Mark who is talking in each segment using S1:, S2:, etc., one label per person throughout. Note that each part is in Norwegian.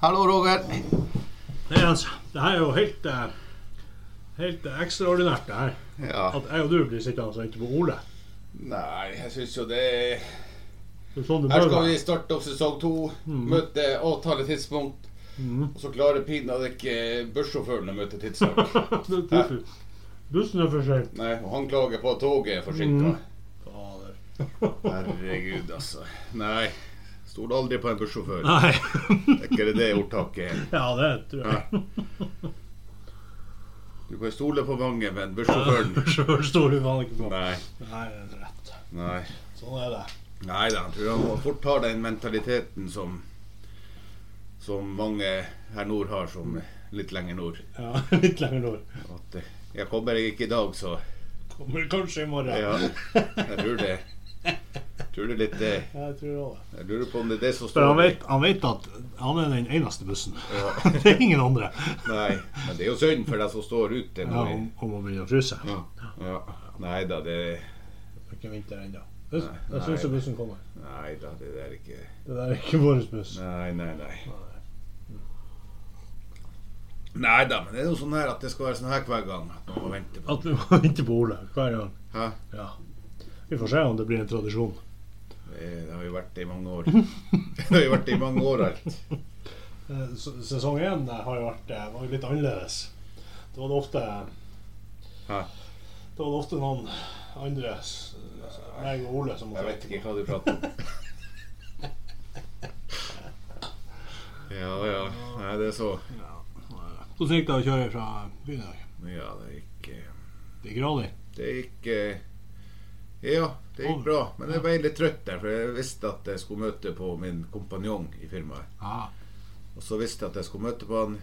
S1: Hallo, Roger.
S2: Nei, altså, det her er jo helt eh, Helt eh, ekstraordinært, det her.
S1: Ja.
S2: At jeg og du blir sittende og vente på Ole.
S3: Nei, jeg syns jo det er
S2: Det er sånn det
S3: Her
S2: bør
S3: skal
S2: være.
S3: vi starte opp sesong to. Møte avtaletidspunkt.
S2: Mhm.
S3: Og så klarer pinadø ikke bussjåføren å møte tidsnok.
S2: Det er tuffy. Bussen er for sein.
S3: Nei, og han klager på at toget er forsinka.
S2: Mhm. Fader.
S3: Herregud, altså. Nei. Stol aldri på en bussjåfør.
S2: Nei.
S3: Er ikke det det ordtaket er?
S2: ja, det tror jeg.
S3: Du kan stole på mange, men bussjåføren
S2: Sjøl stoler vi faen ikke på.
S3: Nei.
S2: Nei, det er rett.
S3: Nei.
S2: Sånn er det.
S3: Nei da, jeg tror han må fort har den mentaliteten som Som mange her nord har, som litt lenger nord.
S2: Ja, Litt lenger nord.
S3: At eh, jeg kommer ikke i dag, så
S2: Kommer kanskje i morgen.
S3: Ja, jeg tror det. Jeg tror det er litt det.
S2: Jeg tror også det.
S3: Jeg lurer på om det er det som
S2: For
S3: står
S2: han vet, han vet at han er den eneste bussen.
S3: Ja.
S2: Det er ingen andre.
S3: Nei, men det er jo synd for deg som står ute.
S2: Ja,
S3: nå i-
S2: om, om å begynne å fryse.
S3: Ja. Ja. Nei da, det
S2: Det er ikke vinter ennå.
S3: Nei.
S2: Jeg syns bussen kommer.
S3: Nei da, det der er ikke
S2: Det der er ikke vår buss.
S3: Nei, nei, nei. Nei da, men det er jo sånn her at det skal være sånn her hver gang. At man må vente på
S2: At vi må vente på Ole hver gang.
S3: Hæ?
S2: Ja. Vi får se om det blir en tradisjon.
S3: Det det har jo vært det i mange år. Det har jo vært det i mange år alt.
S2: Eh, s- Sesong én eh, har jo vært eh, var jo litt annerledes. Da var det ofte
S3: Hæ?
S2: Da var det ofte noen andre s- meg og Ole som
S3: Jeg
S2: måtte
S3: vet ikke hva du prater om. Ja ja. Nei, det er så
S2: Hvordan gikk det å kjøre fra byen i dag?
S3: Ja, det gikk eh,
S2: Det gikk radig.
S3: Det gikk eh, Ja, det gikk bra. Men jeg ble litt trøtt der, for jeg visste at jeg skulle møte på min kompanjong i firmaet.
S2: Ah.
S3: Og så visste jeg at jeg skulle møte på han,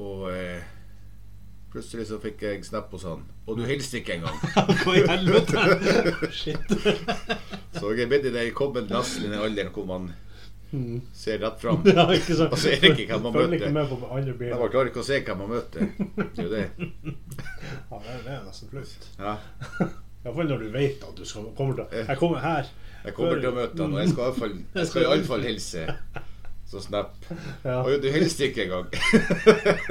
S3: og eh, plutselig så fikk jeg snap hos han. Og du hilste ikke engang.
S2: Hva i helvete? Shit.
S3: Så jeg er blitt i den kommet nesten i den alderen hvor man ser rett fram.
S2: Ja, ikke sant.
S3: Og så er det ikke hvem man
S2: Følger
S3: møter.
S2: ikke med på andre biler.
S3: Jeg bare klarer ikke å se hvem man møter. Det er jo det.
S2: Ja, det er- det er nesten flaut.
S3: Ja,
S2: Iallfall når du vet at du skal, kommer til Jeg kommer her.
S3: jeg kommer til å møte han, og jeg skal i alle fall- jeg skal iallfall hilse. Så snap.
S2: Ja.
S3: Oi, du hilste ikke engang.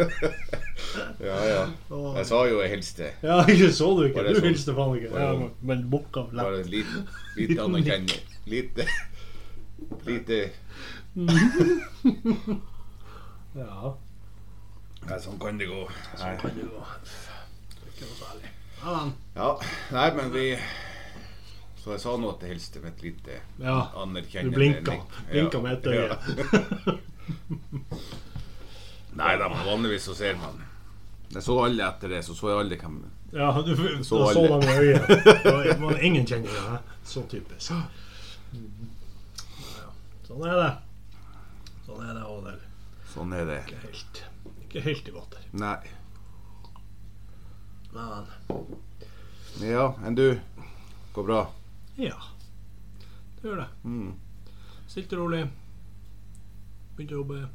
S3: ja, ja. Jeg sa jo jeg hilste.
S2: ja, ikke så du ikke.
S3: Bare
S2: Du
S3: sånn.
S2: hilste faen ikke.
S3: Bare
S2: Ja,
S3: sånn.
S2: men bukka lett.
S3: Bare en liten, liten anerkjennelse. Lite Lite
S2: Ja.
S3: Nei, sånn kan det gå. Nei.
S2: Kan du gå. Ikke noe særlig. Ja, men.
S3: Ja, nei, men vi Så jeg sa nå at jeg hilste med et lite
S2: Ja. Du
S3: anerkjennende
S2: blinka.
S3: nikk. Ja,
S2: Blinka med ett
S3: ja.
S2: øye.
S3: Nei da, men vanligvis så ser man. Jeg så alle etter det, så så jeg alle hvem
S2: Ja, du du
S3: Så
S2: så
S3: alle.
S2: dem i øyet. Det var Ingen kjenner det. hæ? Så typisk. Mm. Ja, ja. Sånn er det. Sånn er det, og det er
S3: Sånn er det.
S2: ikke helt, ikke helt i vater.
S3: Nei.
S2: Men
S3: Ja, enn du? Går bra?
S2: Ja, det gjør det.
S3: Mm.
S2: Stilt og rolig. Begynte å jobbe.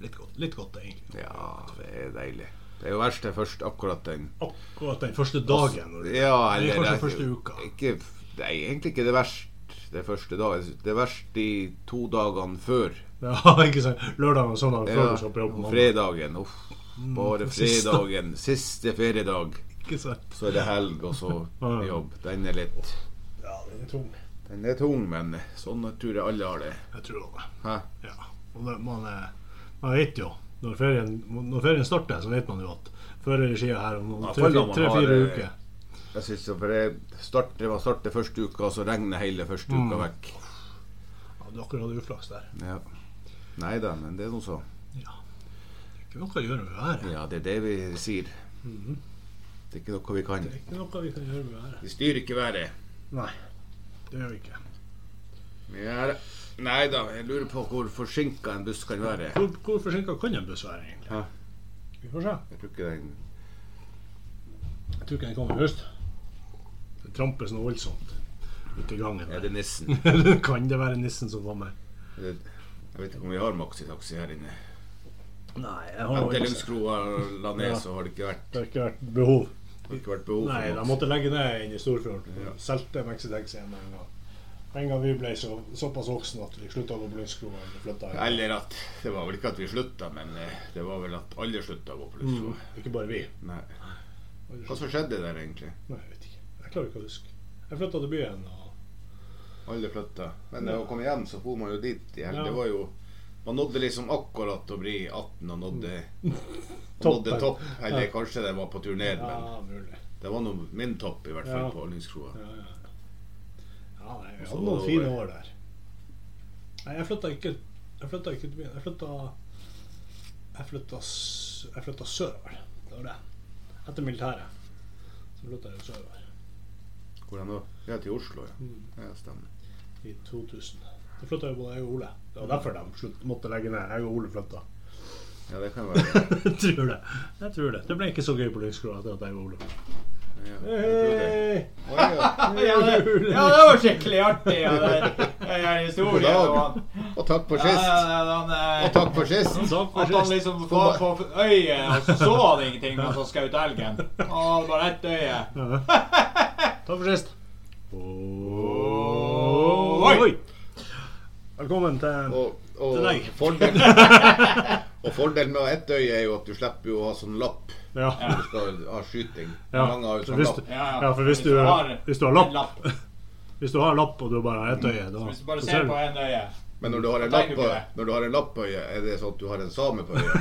S2: Litt godt, litt godt egentlig.
S3: Ja, det er deilig. Det er jo verst det først akkurat den
S2: Akkurat den første dagen. når du-
S3: Ja,
S2: Eller
S3: eller
S2: kanskje
S3: det er
S2: første uka.
S3: Ikke, det er egentlig ikke det verst det første dag. Det er verst de to dagene før.
S2: Ja, ikke sant? Lørdag og søndag før
S3: Ja,
S2: du skal på jobb.
S3: og
S2: mandag.
S3: fredagen. Uff. Bare
S2: og siste.
S3: fredagen. Siste feriedag.
S2: Ikke sant?
S3: Så er det helg, og så
S2: Ja.
S3: jobb. Den er litt
S2: Ja, den er tung.
S3: Den er tung, men sånn tror jeg alle har det.
S2: Jeg tror det.
S3: Hæ?
S2: Ja. Og det, man, er- man vet jo, når ferien, når ferien starter, så vet man jo at før eller siden her om
S3: Ja,
S2: noen
S3: føler man har,
S2: tre-fire
S3: eh,
S2: uker
S3: Jeg synes det, for jeg starter, man starter første uka, og så regner hele første
S2: Mm.
S3: uka vekk.
S2: ja, Du akkurat hadde uflaks der.
S3: Ja. Nei da, men det er nå så.
S2: Ja. Det er ikke noe å gjøre med været. Mhm.
S3: Ja, det er det vi sier. Det er ikke noe vi kan.
S2: Det er ikke noe vi kan gjøre med været.
S3: Vi styrer ikke været.
S2: Nei, det gjør vi ikke.
S3: Vi er Nei da, jeg lurer på hvor forsinka en buss kan være.
S2: Hvor, hvor forsinka kan en buss være, egentlig?
S3: Ja.
S2: Vi får se.
S3: Jeg tror ikke den
S2: Jeg tror ikke den kommer i høst. Det trampes noe voldsomt ute i gangen.
S3: Er
S2: der.
S3: det nissen?
S2: kan det være nissen som kommer?
S3: Jeg vet ikke om vi har maxitaxi her inne.
S2: Nei, jeg har
S3: Etter
S2: ikke
S3: Lønnskroa og Lané så har det ikke vært,
S2: Det har ikke vært behov.
S3: har ikke vært behov
S2: Nei,
S3: for
S2: de
S3: Max.
S2: måtte legge ned inne i Storfjorden.
S3: Ja.
S2: Solgte Mexitex igjen med en gang. En gang vi ble så, såpass voksne at vi slutta å gå på Lørenskog og flytta hjem.
S3: Eller at Det var vel ikke at vi slutta, men eh, det var vel at alle slutta å gå på
S2: Mm.
S3: luftskole.
S2: Ikke bare vi.
S3: Nei.
S2: Alle
S3: Hva
S2: slutta.
S3: som skjedde der, egentlig?
S2: Nei, jeg vet ikke. Jeg klarer ikke å huske. Jeg flytta til byen. og
S3: Alle flytta. Men
S2: Ja.
S3: når man kom hjem, så for man jo dit. i helg.
S2: Ja.
S3: Det var jo Man nådde liksom akkurat å bli 18 og nådde, og nådde
S2: Mm. Toppen.
S3: topp. Eller
S2: Ja.
S3: kanskje det var på tur ned, men
S2: Ja, mulig.
S3: det var nå min topp, i hvert fall,
S2: Ja.
S3: på Olningskroa.
S2: Ja, ja. ja nei, vi
S3: Og så
S2: hadde
S3: var det
S2: noen fine
S3: over.
S2: år der. Nei, jeg flytta ikke Jeg flytta ikke til byen. Jeg flytta Jeg flytta, s- jeg flytta sørover. Det var det. Etter militæret. Så flytta jeg jo sørover.
S3: Hvor han da? Ja, til Oslo, ja.
S2: Mm.
S3: ja stemmer.
S2: I 2000. Da flytta jo både jeg og Ole. Det var derfor de slutt, måtte legge ned. Jeg og Ole flytta.
S3: Ja, det kan være.
S2: Jeg tror det. Jeg tror det. Det ble ikke så gøy på Lyngskroa at jeg og Ole flytta.
S3: Ja, jeg tror det. Å, ja.
S1: Ja, det, ja, det var skikkelig artig. Ja, det, det er
S3: God
S1: historien. Og
S3: dag,
S1: han,
S3: og takk for
S1: ja, ja,
S3: sist.
S1: ja, han, eh,
S3: Og takk for sist.
S2: Takk
S1: At
S2: for
S1: han
S2: sist.
S1: liksom var på øyet, og så så han ingenting mens han skjøt elgen. Han hadde bare ett øye.
S2: Ja. Takk for sist.
S1: Oi!
S2: Oi! Velkommen til
S3: Og,
S2: Til
S3: og,
S2: deg.
S3: fordelen, og fordelen med å ha ett øye er jo at du slipper jo å ha sånn lapp
S2: Ja.
S1: Ja.
S3: du skal ha skyting.
S2: Ja.
S3: Mange har jo
S2: Så
S3: sånn
S2: hvis
S3: lapp.
S2: du, ja, for hvis du,
S1: har
S2: hvis du har
S1: en
S2: lapp Hvis du har lapp og du bare har ett øye, da
S1: Hvis du bare
S2: så
S1: ser
S2: du-
S1: på en øye.
S3: Men når du har en
S1: Da
S3: lapp
S1: tenker
S3: på,
S1: du ikke
S3: når du har en lapp på øyet, er det sånn at du har en same på øyet?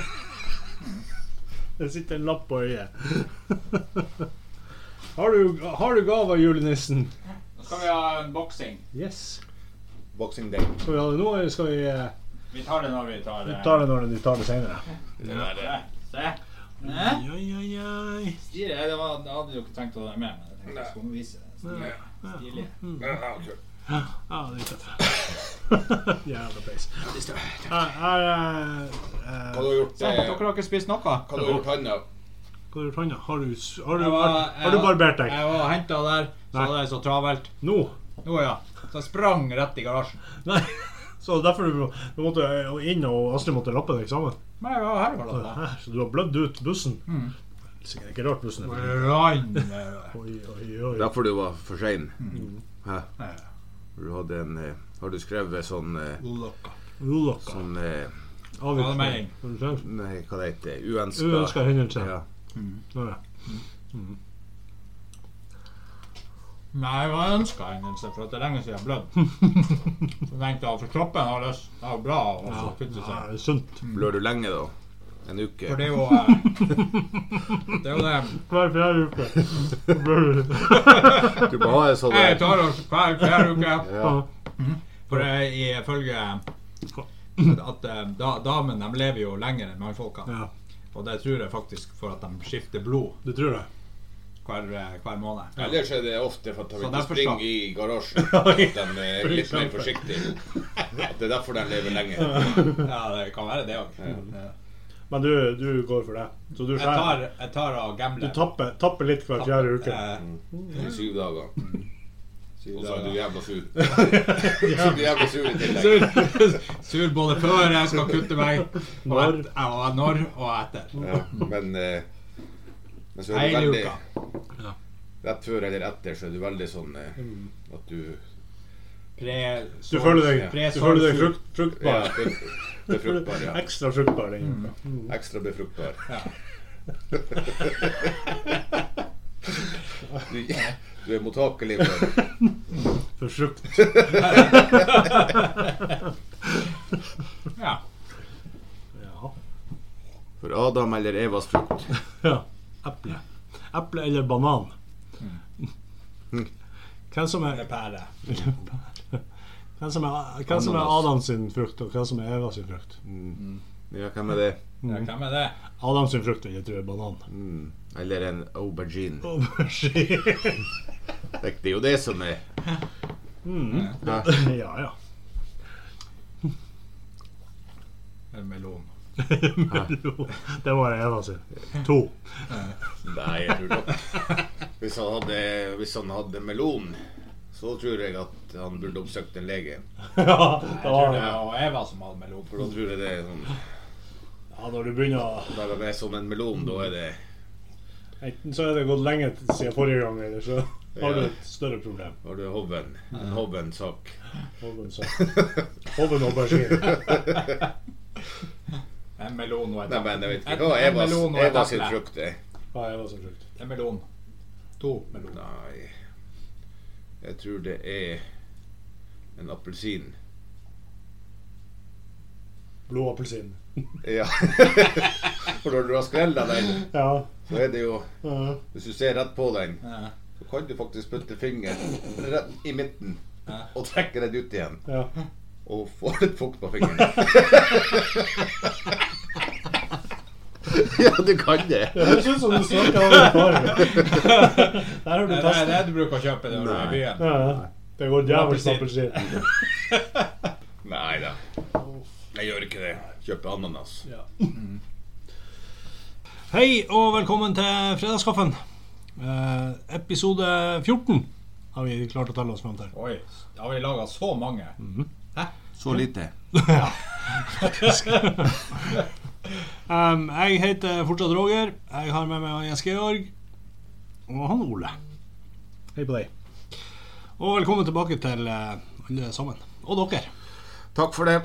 S2: Det sitter en lapp på øyet. har, du, har du gave av julenissen?
S1: Nå skal vi ha en boksing.
S2: Yes.
S3: Boxing day.
S2: Skal vi ha det nå, eller skal vi eh,
S1: Vi tar det når vi tar eh,
S2: Vi
S1: det.
S2: tar det når vi tar det senere.
S3: Det der, eh,
S1: Se. Nei,
S2: Oi, oi, oi.
S1: stilig. Det var, jeg hadde jo ikke tenkt å være med, men jeg tenkte jeg skulle vise det. Stilig. Stilig.
S2: Mm. Ja, det er tøft. Jævla peis. Her, her er eh,
S3: Hva har du gjort?
S1: Se,
S3: eh,
S1: dere har ikke spist noe.
S3: Hva har du gjort handa?
S2: Hva har du gjort hånda? Har du, s- har du,
S1: Jeg var-
S2: bar- har
S1: jeg
S2: du
S1: var-
S2: barbert deg?
S1: Jeg var og hentet der, så
S2: Nei.
S1: hadde jeg så travelt.
S2: Nå?
S1: Nå ja. Så jeg sprang rett i garasjen.
S2: Nei. Så derfor du, du måtte eh, inn, og Astrid måtte lappe deg sammen?
S1: Men jeg var her var
S2: Så,
S1: det da.
S2: hæ, så du har blødd ut bussen?
S1: Mm.
S2: Sikkert ikke rart bussen er full.
S1: Brann. eh,
S2: Oi, oi, oi.
S3: Derfor du var for sein.
S1: eh,
S3: Du hadde en eh, Har du skrevet sånn eh,
S1: Ulokka.
S2: Ulokka.
S3: Sånn eh,
S1: Allmenning.
S2: Avgjørelse.
S3: Nei, hva det heter det? Uønska
S2: Uønska hendelse.
S3: Ja.
S2: Nå, ja.
S1: Nei, det var ønska hendelse, for at det er lenge siden jeg har blødd. Så tenkte jeg for kroppen har lyst. Det er jo bra å
S2: Ja,
S1: også kutte
S2: ja,
S1: seg.
S2: det er sunt.
S3: Blør du lenge, da? En uke?
S1: For det er jo eh, Det er jo det
S2: Hver fjerde uke. Så blør du.
S3: Du må ha en sånn
S1: jeg
S3: der.
S1: tar oss hver hver uke.
S3: Ja.
S1: For det er ifølge at eh, da, damene de lever jo lenger enn mannfolka.
S2: Ja,
S1: Og det tror jeg faktisk for at de skifter blod
S2: du tror det?
S1: hver, eh, hver måned.
S3: Ellers er det ofte for at de
S2: Sånn
S1: Så
S3: ikke
S1: derfor
S3: springer
S1: så-
S3: i garasjen. At de er litt
S2: For
S3: mer
S2: eksempel.
S3: forsiktige. At det er derfor de lever lenge.
S1: Ja, det kan være det òg.
S2: Men du, du går for det. Så du
S1: Jeg
S2: skjærer.
S1: tar, jeg tar og
S2: Du
S1: gambler.
S2: tapper, tapper litt hver fjerde uke.
S1: Eh,
S3: I syv dager. Og så er du
S1: dager.
S3: jævla sur. Så er du jævla sur i tillegg.
S1: sur, sur både før jeg skal kutte meg, og,
S2: Når.
S1: et, og når og etter.
S3: Ja, men, eh, men så er du
S1: Hele
S3: veldig
S1: uka.
S3: Rett før eller etter så er du veldig sånn eh,
S1: Mm.
S3: at du
S1: Pre,
S2: Du føler deg,
S1: pre-
S2: du føler deg
S1: sol-
S2: frukt,
S3: ja,
S2: fruktbar.
S3: be- Befruktbar, ja.
S2: Ekstra fruktbar den uka.
S3: Ekstra befruktbar.
S1: Ja.
S3: Du, du er mottakelig for
S2: For frukt.
S1: Ja.
S2: Ja.
S3: For Adam eller Evas frukt.
S2: Ja, eple. Eple eller banan. Hvem som er
S1: Eller pære.
S2: hvem som er, hvem som er
S3: Ananas.
S2: Adam sin frukt, og hvem som er Eva sin frukt?
S3: Ja, hvem er det?
S2: Mm.
S1: Ja, hvem er det?
S2: Adam sin frukt vil jeg tro er banan.
S3: Mm. Eller en aubergine.
S2: Aubergine.
S3: Det er jo det som er Hæ?
S2: ja, ja.
S1: En melon.
S2: Melon. Det var Eva sin. To.
S3: Nei, jeg tror nok hvis han, hadde, hvis han hadde melon, så tror jeg at han burde oppsøkt en lege.
S2: ja,
S1: Jeg
S2: da
S1: tror
S2: var
S1: det
S2: det.
S1: var Eva som hadde melon.
S3: For da tror jeg det er sånn
S2: ja, når du begynner å
S3: Når de er som en melon, da er det
S2: Enten så er det gått lenge siden forrige gang, eller så Har du
S3: Ja.
S2: et større problem?
S3: Har du hoven? En hoven-sak?
S2: Hoven sa Hoven aubergine.
S1: En melon og et
S3: Nei, men jeg vet
S1: Et-
S3: ikke hva
S1: en
S3: Evas,
S1: melon og et
S3: Evas sin
S1: eple.
S3: frukt er.
S2: Ja, jeg var så sjukt.
S1: En melon. To meloner.
S3: Nei Jeg tror det er en appelsin.
S2: Blå appelsin.
S3: Ja. For når du har skrella den,
S2: Ja.
S3: så er det jo
S2: ja.
S3: Hvis du ser rett på den,
S1: Ja.
S3: så kan du faktisk putte fingeren rett i midten
S1: Ja.
S3: og trekke den ut igjen.
S2: ja.
S3: Og få litt fukt på fingeren. ja, du kan det.
S2: Det høres ut som du snakker om en form. Der har du
S1: Det er det
S2: testa.
S1: du bruker å kjøpe når du er i byen.
S2: Ja, ja. det går djevelsk appelsin.
S3: Nei da. Jeg gjør ikke det. Kjøper ananas.
S2: Ja. Mm. Hei og velkommen til Fredagskaffen. Eh, episode 14 har vi klart å telle oss fram til.
S1: Oi, da har vi laga så mange.
S2: Mm.
S3: Så lite.
S2: Em, Um, jeg heter fortsatt Roger. Jeg har med meg Jens Georg og han Ole. Hei på deg. Og velkommen tilbake til eh, alle sammen. Og dere.
S3: Takk for det.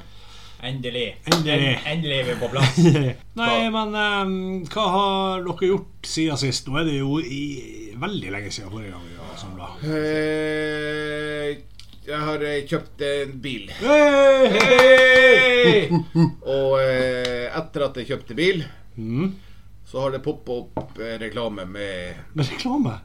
S1: Endelig.
S2: Endelig.
S1: En- Endelig er vi på plass.
S2: Nei, men em, hva har dere gjort siden sist? Nå er det jo i, veldig lenge siden forrige gang vi var samla.
S3: Eh, Jeg har eh, kjøpt en bil.
S1: Hei!
S3: Og eh, etter at jeg kjøpte bil,
S2: Mm.
S3: så har det poppa opp eh, reklame med,
S2: Med reklame?
S3: Eh,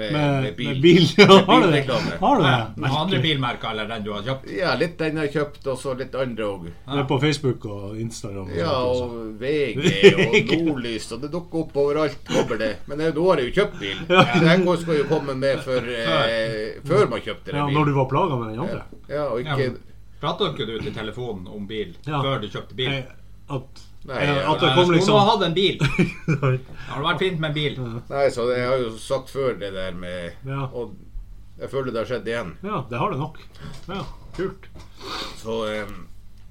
S3: med,
S2: Med,
S3: med bil.
S2: Med bil. Ja, har du det?
S3: bilreklame.
S2: Har du
S1: Ja,
S2: det?
S1: Andre bilmerker eller den du har kjøpt?
S3: Ja, litt den jeg har kjøpt, og så litt andre òg.
S2: Det er på Facebook og Instagram. og
S3: Ja,
S2: sånt også.
S3: og VG og Nordlys, og det dukker opp overalt. kommer det. Men jeg- nå har jeg jo kjøpt bil. Så den går- skal jo komme med før, eh, før man kjøpte
S2: ja,
S3: den
S2: Når
S3: bilen.
S2: du var plaga med den andre?
S3: Ja, og
S1: Ja,
S3: ikke
S1: men Prata ikke du til telefonen om bil
S2: Ja.
S1: før du kjøpte bil?
S2: Eh, At,
S3: Nei,
S2: eh, at det
S1: Nei,
S2: kom
S1: skulle du ha
S2: liksom
S1: hatt en bil. Det hadde vært fint med en bil.
S3: Nei, så jeg har jo sagt før det der med
S2: Ja.
S3: Og jeg føler det har skjedd igjen.
S2: Ja, det har det nok. Ja, Kult.
S3: Så eh,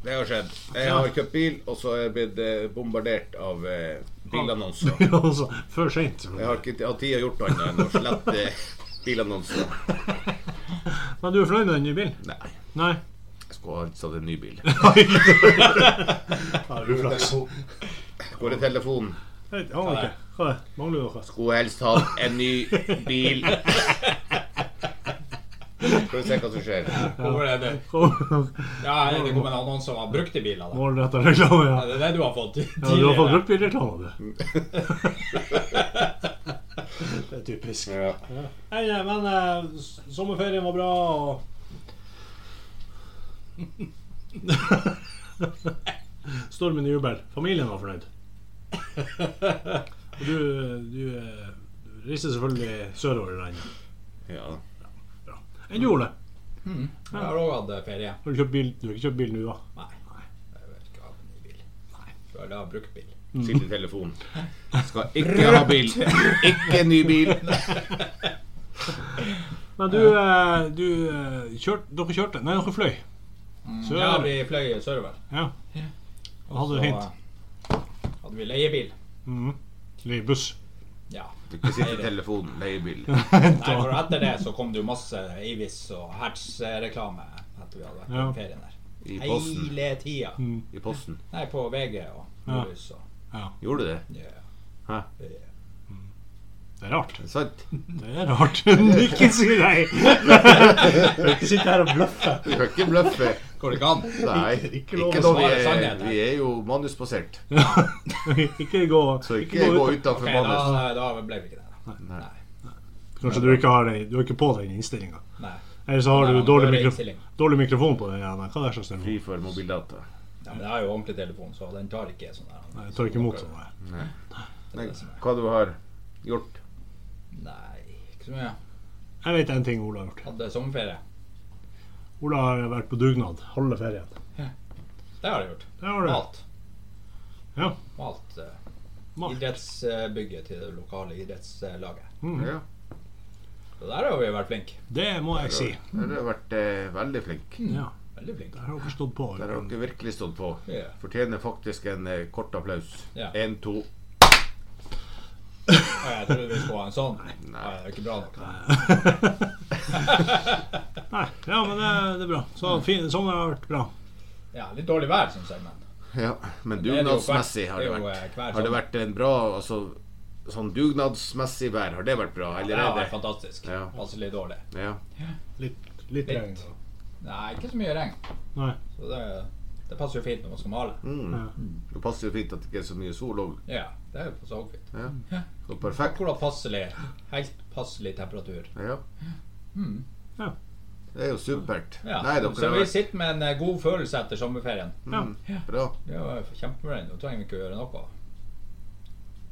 S3: det har skjedd. Jeg har kjøpt bil, og så er jeg blitt eh, bombardert av eh, bilannonser.
S2: Ja, altså, Før seint.
S3: Jeg har ikke hatt tid til å gjort annet enn å slette eh, bilannonser.
S2: Men du er fornøyd med den nye bilen?
S3: Nei.
S2: Nei?
S3: Jeg skulle altså hatt en ny bil.
S2: Ja, Uflaks.
S3: Hvor er telefonen?
S2: Jeg aner ikke. Hva er det? Mangler du noe?
S3: Skulle helst hatt en ny bil. Skal vi se hva som skjer.
S1: Hvorfor er det? Ja, det kom en annonse om han brukte biler. Da.
S2: Målretta reklame, ja.
S1: Ja, Det er det du har fått
S2: ja. Du har fått
S1: tidligere.
S2: bruktbilreklame, du. Det er typisk.
S3: Ja.
S2: Nei, nei, men eh, s- sommerferien var bra, og Stormen i jubel. Familien var fornøyd. Og du, du eh, reiste selvfølgelig sørover i landet.
S3: ja.
S2: Enn du, Ole?
S1: Jeg har òg hatt eh, ferie.
S2: Har du, kjøpt bil? du har ikke kjøpt bil nå, da?
S1: Nei. Jeg vet ikke hva en ny bil. Nei. Før det har brukt bil.
S3: Sitter i telefonen. Skal ikke ha bil. Ikke ny bil.
S2: Men du, eh, du eh, kjørte Dere kjørte? Nei, dere fløy. Sør.
S1: Mm, Ja, vi fløy sørover.
S2: Ja. Og hadde
S1: Så,
S2: det fint.
S1: eh, hadde vi leiebil.
S2: Mhm. Eller i buss.
S1: Ja.
S3: Ikke sitte i telefonen. Leiebil.
S1: Nei, for etter det så kom det jo masse Avis og Hertz-reklame etter vi hadde vært på
S2: Ja.
S1: ferien der.
S3: I posten.
S1: Hele tida.
S3: I posten.
S1: Nei, på VG og
S2: Ja.
S1: Nordlys og
S3: Gjorde du det?
S1: ja.
S3: Hæ?
S2: Det er rart.
S3: Er det sant?
S2: Det er rart. ikke si nei! ikke sitt her og bløffe.
S3: Du kan ikke bløffe.
S1: Går det ikke an?
S3: Nei,
S2: Ikke- ikke
S3: ikke
S2: lov å
S3: når vi
S1: svare
S3: er,
S1: sannhet her.
S3: vi er jo manusbasert.
S2: ikke gå,
S3: Så ikke gå utenfor
S1: Ok,
S3: manus.
S1: da, da ble vi ikke det. da.
S3: Nei.
S2: Kanskje du ikke har den, du er ikke på den innstillinga.
S1: Nei.
S2: Eller så har
S1: Nei,
S2: du
S1: man
S2: dårlig,
S1: hører
S2: mikrof
S1: innstilling.
S2: dårlig mikrofon på den. Ja, nei, hva er det slags
S3: Fri
S2: telefon?
S3: for mobildata.
S1: Ja, men jeg har jo ordentlig telefon, så den tar ikke sånn der.
S2: Nei, Jeg tar ikke imot sånn. nei.
S3: Nei, hva du har gjort?
S1: Nei, ikke så mye.
S2: Jeg vet én ting Ola har gjort.
S1: Hadde sommerferie.
S2: Ola har vært på dugnad halve ferien.
S1: Det har jeg gjort.
S2: Det har du.
S1: Malt.
S2: Ja.
S1: Malt eh,
S2: Malt.
S1: idrettsbygget til det lokale idrettslaget.
S3: Ja,
S1: Så der har vi vært flinke.
S2: Det må jeg si.
S3: der har du vært eh, veldig flink.
S1: Mm.
S2: Ja,
S1: Veldig flinke.
S2: Der har dere stått på.
S3: Der har dere virkelig stått på.
S1: Ja.
S3: Fortjener faktisk en eh, kort applaus.
S1: Ja.
S3: Én, to.
S1: Ja, jeg trodde vi skulle ha en sånn. Nei, det er ikke bra nok.
S2: Nei, ja, men det, det er bra. Så fin, sommeren har vært bra.
S1: Ja, litt dårlig vær, syns jeg, men
S3: Ja, men
S1: det er det jo
S3: dugnadsmessig
S1: hver-
S3: har det
S1: det er jo, eh,
S3: vært
S1: hver
S3: Har det
S1: sommer.
S3: vært en bra altså, Sånn dugnadsmessig vær, har det vært bra?
S1: det
S3: Eller
S1: har
S3: er
S1: vært
S3: det
S1: fantastisk.
S3: Ja.
S1: Passelig dårlig.
S3: ja.
S2: Litt, litt regn. da.
S1: Nei, ikke så mye regn.
S2: Nei.
S1: Så det, det passer jo fint når man skal male.
S3: mm.
S2: Ja.
S3: Det passer jo fint at det ikke er så mye sol òg.
S1: Ja, det er jo så fint.
S3: Ja. Så perfekt.
S1: Akkurat passelig. Helt passelig temperatur.
S3: Ja.
S1: Mm.
S2: Ja.
S3: Det er jo supert.
S1: Ja.
S3: Nei, dere
S1: så
S3: har
S1: vi
S3: vært
S1: sitter med en eh, god følelse etter sommerferien.
S3: mm, bra.
S1: Det er jo kjempefornøyd. Nå trenger vi ikke gjøre noe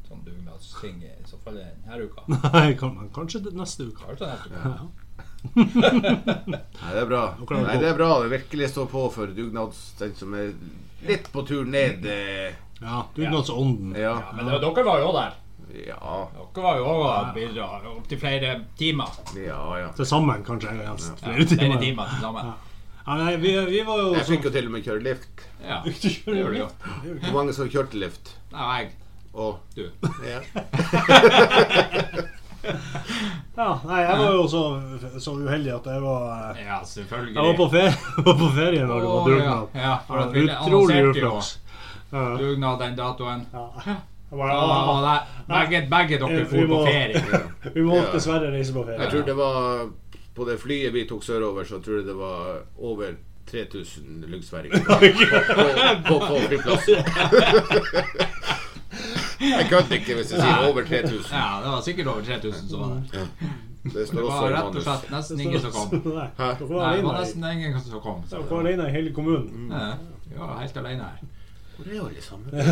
S1: sånn dugnadsting i så fall denne uka.
S2: Nei, kan, men kanskje det neste uke.
S1: Kanskje neste uke.
S3: Nei, det er bra.
S2: har
S3: Nei,
S2: vært
S3: det er bra. Det virkelig står på for dugnads... Den som er litt på tur ned eh,
S2: Ja, dugnadsånden.
S3: Ja.
S1: Ja, men det, dere var jo også der.
S3: Ja,
S1: Dere var jo også og bidra opptil flere timer.
S3: ja. ja.
S2: Til sammen, kanskje. eller helst.
S1: Ja,
S2: Flere
S1: flere
S2: timer.
S1: timer til sammen.
S2: Ja, nei, vi, vi var jo
S3: Jeg fikk jo til og med kjøre lift.
S1: Ja, det gjorde du jo.
S3: Hvor mange som kjørte lift?
S1: Nei, jeg,
S3: Og
S1: du.
S3: ja.
S2: Ja, nei, jeg var jo så, så uheldig at jeg var eh,
S1: Ja, selvfølgelig.
S2: Jeg var på ferie, var på ferie når det var
S1: Å, ja.
S2: dugnad.
S1: Ja, for at vi
S2: Utrolig
S1: annonserte jo
S2: uflaks. Ja.
S1: dugnad den datoen.
S2: Ja. Jeg
S1: Ja,
S2: bare-
S1: nei, begge, begge dere
S2: Vi
S1: for på
S2: må-
S1: ferie.
S2: Vi må
S3: Ja.
S2: dessverre reise på
S3: Jeg
S2: ferie.
S3: tror det var På det flyet vi tok sørover, så tror jeg det var over 3000 luggsverdinger på, på, på flyplassen. Jeg kødder ikke hvis jeg sier over 3000.
S1: Ja, det var sikkert over 3000 som var der.
S3: Det står
S1: Det
S3: også i
S1: var rett og
S3: manus.
S1: slett nesten ingen som kom.
S2: Nei,
S3: Hæ?
S2: Dere var
S1: Nei, det var
S2: alene i-
S1: nesten ingen som kom. Så
S2: dere
S1: det
S2: var
S1: var-
S2: alene i hele kommunen.
S1: Ja, vi var helt alene her.
S3: Hvor er alle sammen? Er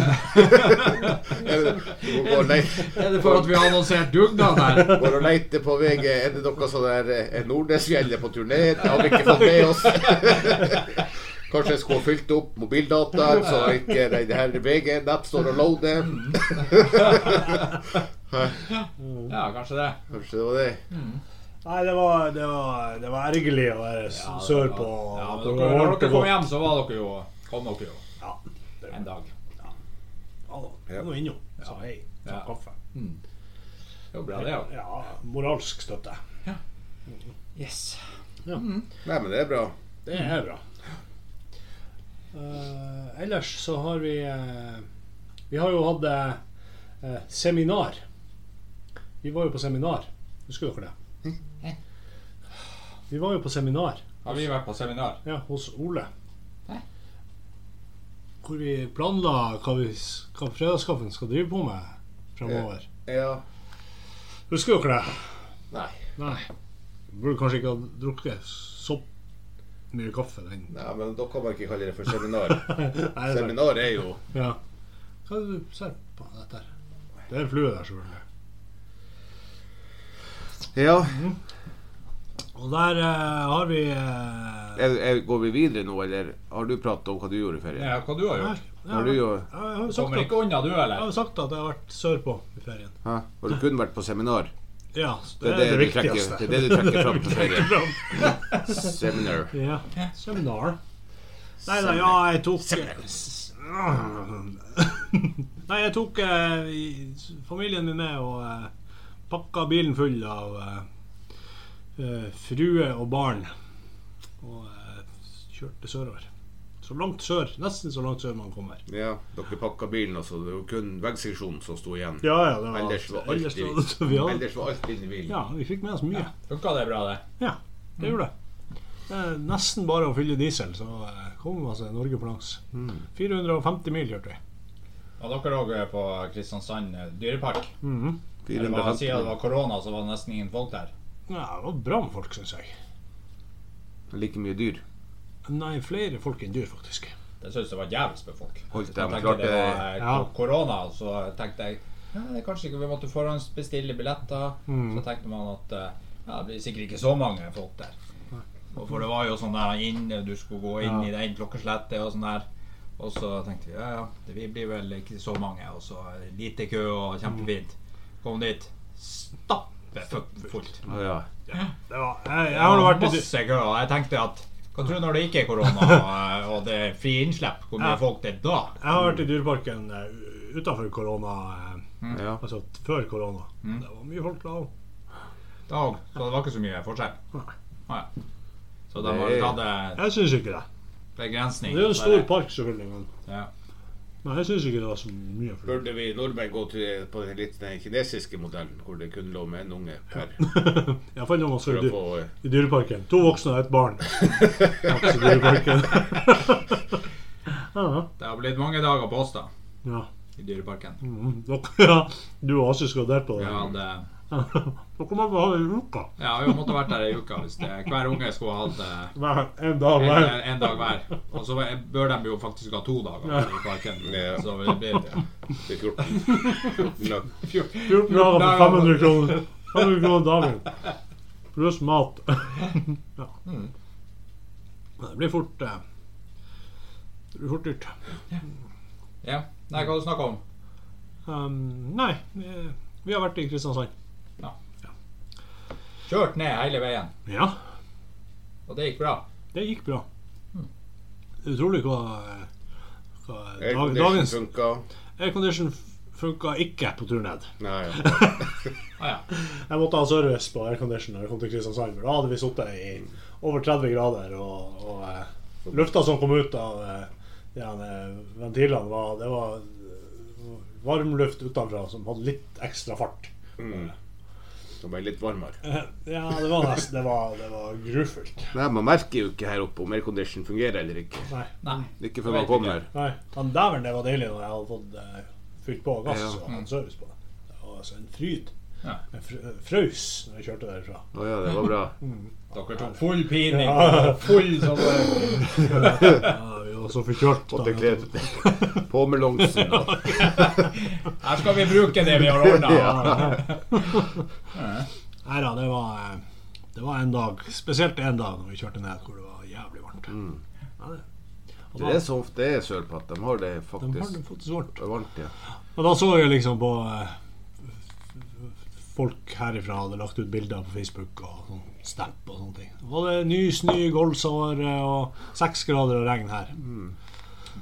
S3: det- Går går leit-
S1: Er det for at vi har annonsert dugnad her?
S3: går og leter på VG. Er det noe sånn der eh, Er Nordnesfjellet på turné? Det har vi ikke fått med oss. Kanskje jeg skulle ha fylt opp mobildataen, så ikke den her VG-app står og loader.
S1: Ja, kanskje det.
S3: Kanskje det var det.
S2: Nei, det var, det var, det var ergerlig å være s- sørpå.
S1: Ja,
S2: Det var
S1: men dere, når
S2: varmt
S1: dere
S2: og
S1: kom
S2: godt.
S1: hjem, så var dere jo Kom dere jo
S2: Ja,
S1: en dag.
S2: ja da. Jeg var innom, sa hei, sa
S1: Ja.
S2: kaffe.
S1: Det var bra, det òg.
S2: Ja, moralsk støtte.
S1: Yes.
S3: Nei, men det er bra.
S2: Det er bra. Eh, ellers så har vi eh, Vi har jo hatt eh, eh, seminar. Vi var jo på seminar. Husker dere det? Vi var jo på seminar
S1: Har vi vært på seminar?
S2: ja, hos Ole.
S1: Hæ?
S2: Hvor vi planla hva, vi, s- hva fredagskaffen skal drive på med fremover.
S3: Ja.
S2: Husker dere det?
S3: Nei.
S2: Nei. Burde kanskje ikke ha drukket så mye kaffe den
S3: Nei, men da kan man ikke kalle det for seminar.
S2: Nei, det er sant.
S3: Seminar er jo
S2: Ja. Hva er det du ser på dette her? Det er en flue der, selvfølgelig.
S3: Ja.
S2: Og der eh, har vi eh,
S3: Er, er, går vi videre nå, eller har du pratet om hva du gjorde i ferien?
S1: Ja, hva du har
S2: her.
S1: gjort?
S2: Ja,
S3: Har du jo
S2: jeg har jo
S1: Du
S2: sagt
S1: kommer
S2: at,
S1: ikke unna, du,
S2: jeg
S1: eller?
S2: har jo sagt at jeg har vært sørpå i ferien.
S3: Hæ? Har du kun vært på seminar?
S2: Ja, det er det,
S3: du
S2: viktigste.
S3: trekker- det er det du trekker fram på ferie. Seminar.
S2: Ja. Seminar. Nei da, ja, jeg tok Nei, jeg tok eh, i- familien min med og eh, pakka bilen full av eh, eh, frue og barn. Og eh, kjørte sørover. Så langt sør, nesten så langt sør man kommer.
S3: Ja, dere pakka bilen, altså. Det var kun veggseksjonen som sto igjen.
S2: Ja, ja, det var
S3: Ellers var alt
S2: ellers
S3: i
S2: var det- vi hadde-
S3: Ellers var alt inne i bilen.
S2: Ja, vi fikk med oss mye.
S1: Funka det bra, det?
S2: Ja, det gjorde det. Det er nesten bare å fylle diesel, så eh, kommer man seg Norge på langs. 450 mil kjørte vi.
S1: Og dere òg på Kristiansand eh, dyrepark?
S2: Mhm.
S1: Det var, siden det
S3: 450.
S1: var korona, så var det nesten ingen folk der.
S2: Ja, det var bra med folk, syns jeg.
S3: Like mye dyr.
S2: Nei, flere folk enn dyr, faktisk.
S1: Det synes jeg var djevels med folk.
S3: Holdt
S1: Så
S3: dem,
S1: tenkte
S3: klart
S1: det
S3: det-
S1: var eh,
S2: Ja.
S1: ko- korona, så tenkte jeg ja, det er kanskje ikke vi måtte forhåndsbestille billetter.
S2: Mm.
S1: Så tenkte man at eh, ja, det blir sikkert ikke så mange folk der. Og for det var jo sånn der inn, du skulle gå inn i det ene klokkeslettet og sånn der. Og så tenkte vi ja, ja, det- vi blir vel ikke så mange. Og så lite kø og kjempefint. Kom dit. Stappe fu- fullt.
S3: Å ja.
S2: Det var, jeg, jeg har nå vært i dy-
S1: masse kø, og jeg tenkte at hva tror du når det ikke er korona og- eh, og det er fri innslipp, hvor mye
S2: Ja.
S1: folk det er da?
S2: jeg har vært i Dyreparken uh, utafor korona. eh,
S3: Ja.
S2: Altså før korona.
S1: Mhm.
S2: Det var mye folk da òg.
S1: Da òg. Så det var ikke så mye forskjell. Nei. Så de har
S3: Nei.
S1: tatt eh,
S2: Jeg syns ikke det.
S1: begrensning.
S2: Det er jo en stor park, selvfølgelig, men,
S1: Ja.
S2: men jeg syns ikke det var så mye folk.
S3: Burde vi nordmenn gå til, på den litt den kinesiske modellen, hvor det kun lå med en unge per
S2: Iallfall når man
S3: for
S2: skal
S3: å
S2: i,
S3: få
S2: dyr,
S3: eh,
S2: i Dyreparken. To voksne og et barn. Altså, dyreparken. ja,
S1: Det har blitt mange dager på oss, da.
S2: ja.
S1: I Dyreparken.
S2: Mm, dere- ja. Du og Asse skal der på det.
S1: Ja, det,
S2: Dere må ha en uke.
S1: eh, ja, vi måtte vært der ei uke hvis det, hver unge skulle hatt eh,
S2: Hver, en dag hver.
S1: en, en dag hver. Og så bør de jo faktisk ha to dager i parken.
S3: Ja.
S1: Så det blir ja.
S3: til 14. 14 lag.
S2: 14 dager for
S1: dager.
S2: 500 kroner. 500 kroner dagen. Pluss mat. ja. Men Det blir fort eh, Det blir fort dyrt.
S1: ja. Nei, hva har du snakka om?
S2: Um, nei, eh, vi har vært i Kristiansand.
S1: Kjørt ned hele veien.
S2: Ja,
S1: Og det gikk bra.
S2: det gikk bra. Utrolig hva, eh, hva dag,
S3: Aircondition
S2: Dagens
S3: funka.
S2: aircondition funka ikke på tur ned.
S3: Nei, ja.
S1: Ah, ja.
S2: Jeg måtte ha service på aircondition da vi kom til Kristiansand. for Da hadde vi sittet i over 30 grader, og, og eh, lufta som kom ut av eh, de her, eh, ventilene, var, det var eh, varmluft utenfra som hadde litt ekstra fart.
S3: Mm. Det ble litt varmere.
S2: Eh, Ja, det var nesten Det var, det var grufullt.
S3: Nei, Man merker jo ikke her oppe om aircondition fungerer eller ikke.
S2: Nei.
S1: Nei.
S3: Ikke før
S1: Jeg
S3: man
S1: vet
S3: kommer.
S2: Nei. Men dæven, det var deilig når jeg hadde fått eh, fylt på gass
S3: Ja.
S2: og hatt service på det. Det var altså en fryd.
S1: Ja.
S2: Jeg fr- frøs når jeg kjørte derfra.
S3: Å ja, det var bra.
S1: Dere tok full pining.
S2: Ja.
S1: Full sånn eh,
S2: Ja, vi var så forkjølt. da.
S3: Måtte kle på med longsen. da.
S1: Her skal vi bruke det vi har ordna.
S2: Nei da, det var, eh, det var en dag, spesielt en dag når vi kjørte ned hvor det var jævlig varmt. Ja, det, og
S3: Det
S2: da,
S3: er så ofte det er sørpå at de har det
S2: de har det
S3: faktisk
S2: fått svart.
S3: varmt. ja.
S2: Og da så jeg liksom på eh, Folk herifra hadde lagt ut bilder på Facebook og sånn snap og sånne ting. Da var det ny snø, goldsår eh, og seks grader og regn her.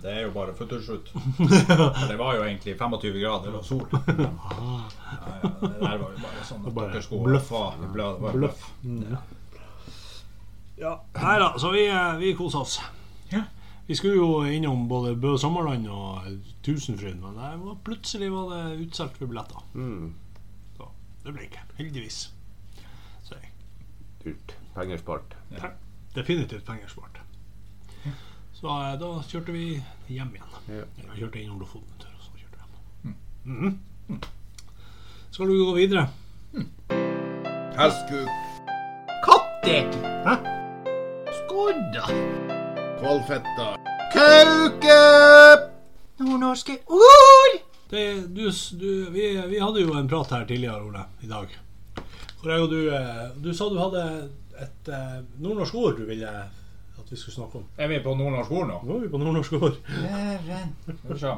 S1: Det er jo bare futtershoot. For det var jo egentlig 25 grader og sol. Ja, ja, det der var jo bare sånn at
S2: Bare
S1: dere skulle
S2: bløff.
S1: få- det ble- det var
S2: Bløff. Ja. Nei da, så vi, eh, vi kosa oss.
S1: Ja.
S2: Vi skulle jo innom både Bø Sommerland og Tusenfryd, men det var, plutselig var det utsolgt for billetter.
S3: Mm.
S2: Så det ble ikke. Heldigvis. Så jeg,
S3: Dyrt. Penger spart.
S2: definitivt penger spart. Så eh, da kjørte vi hjem igjen.
S3: Ja.
S2: Vi kjørte innom Lofoten en tur, og så kjørte vi hjem. Mhm. Mm. Skal du gå videre?
S3: Hestkuk,
S1: Katter!
S2: Skodda!
S3: kvalfetta, kauke!
S1: Nordnorske ord!
S2: Det, du, s- du, vi, vi hadde jo en prat her tidligere, Ole, i dag. Hvor jeg og du, eh, du sa du hadde et eh, nordnorsk ord du ville at vi skulle snakke om.
S1: Er vi på nordnorsk ord nå?
S2: Nå er vi på nordnorsk ord.
S1: Skal vi se.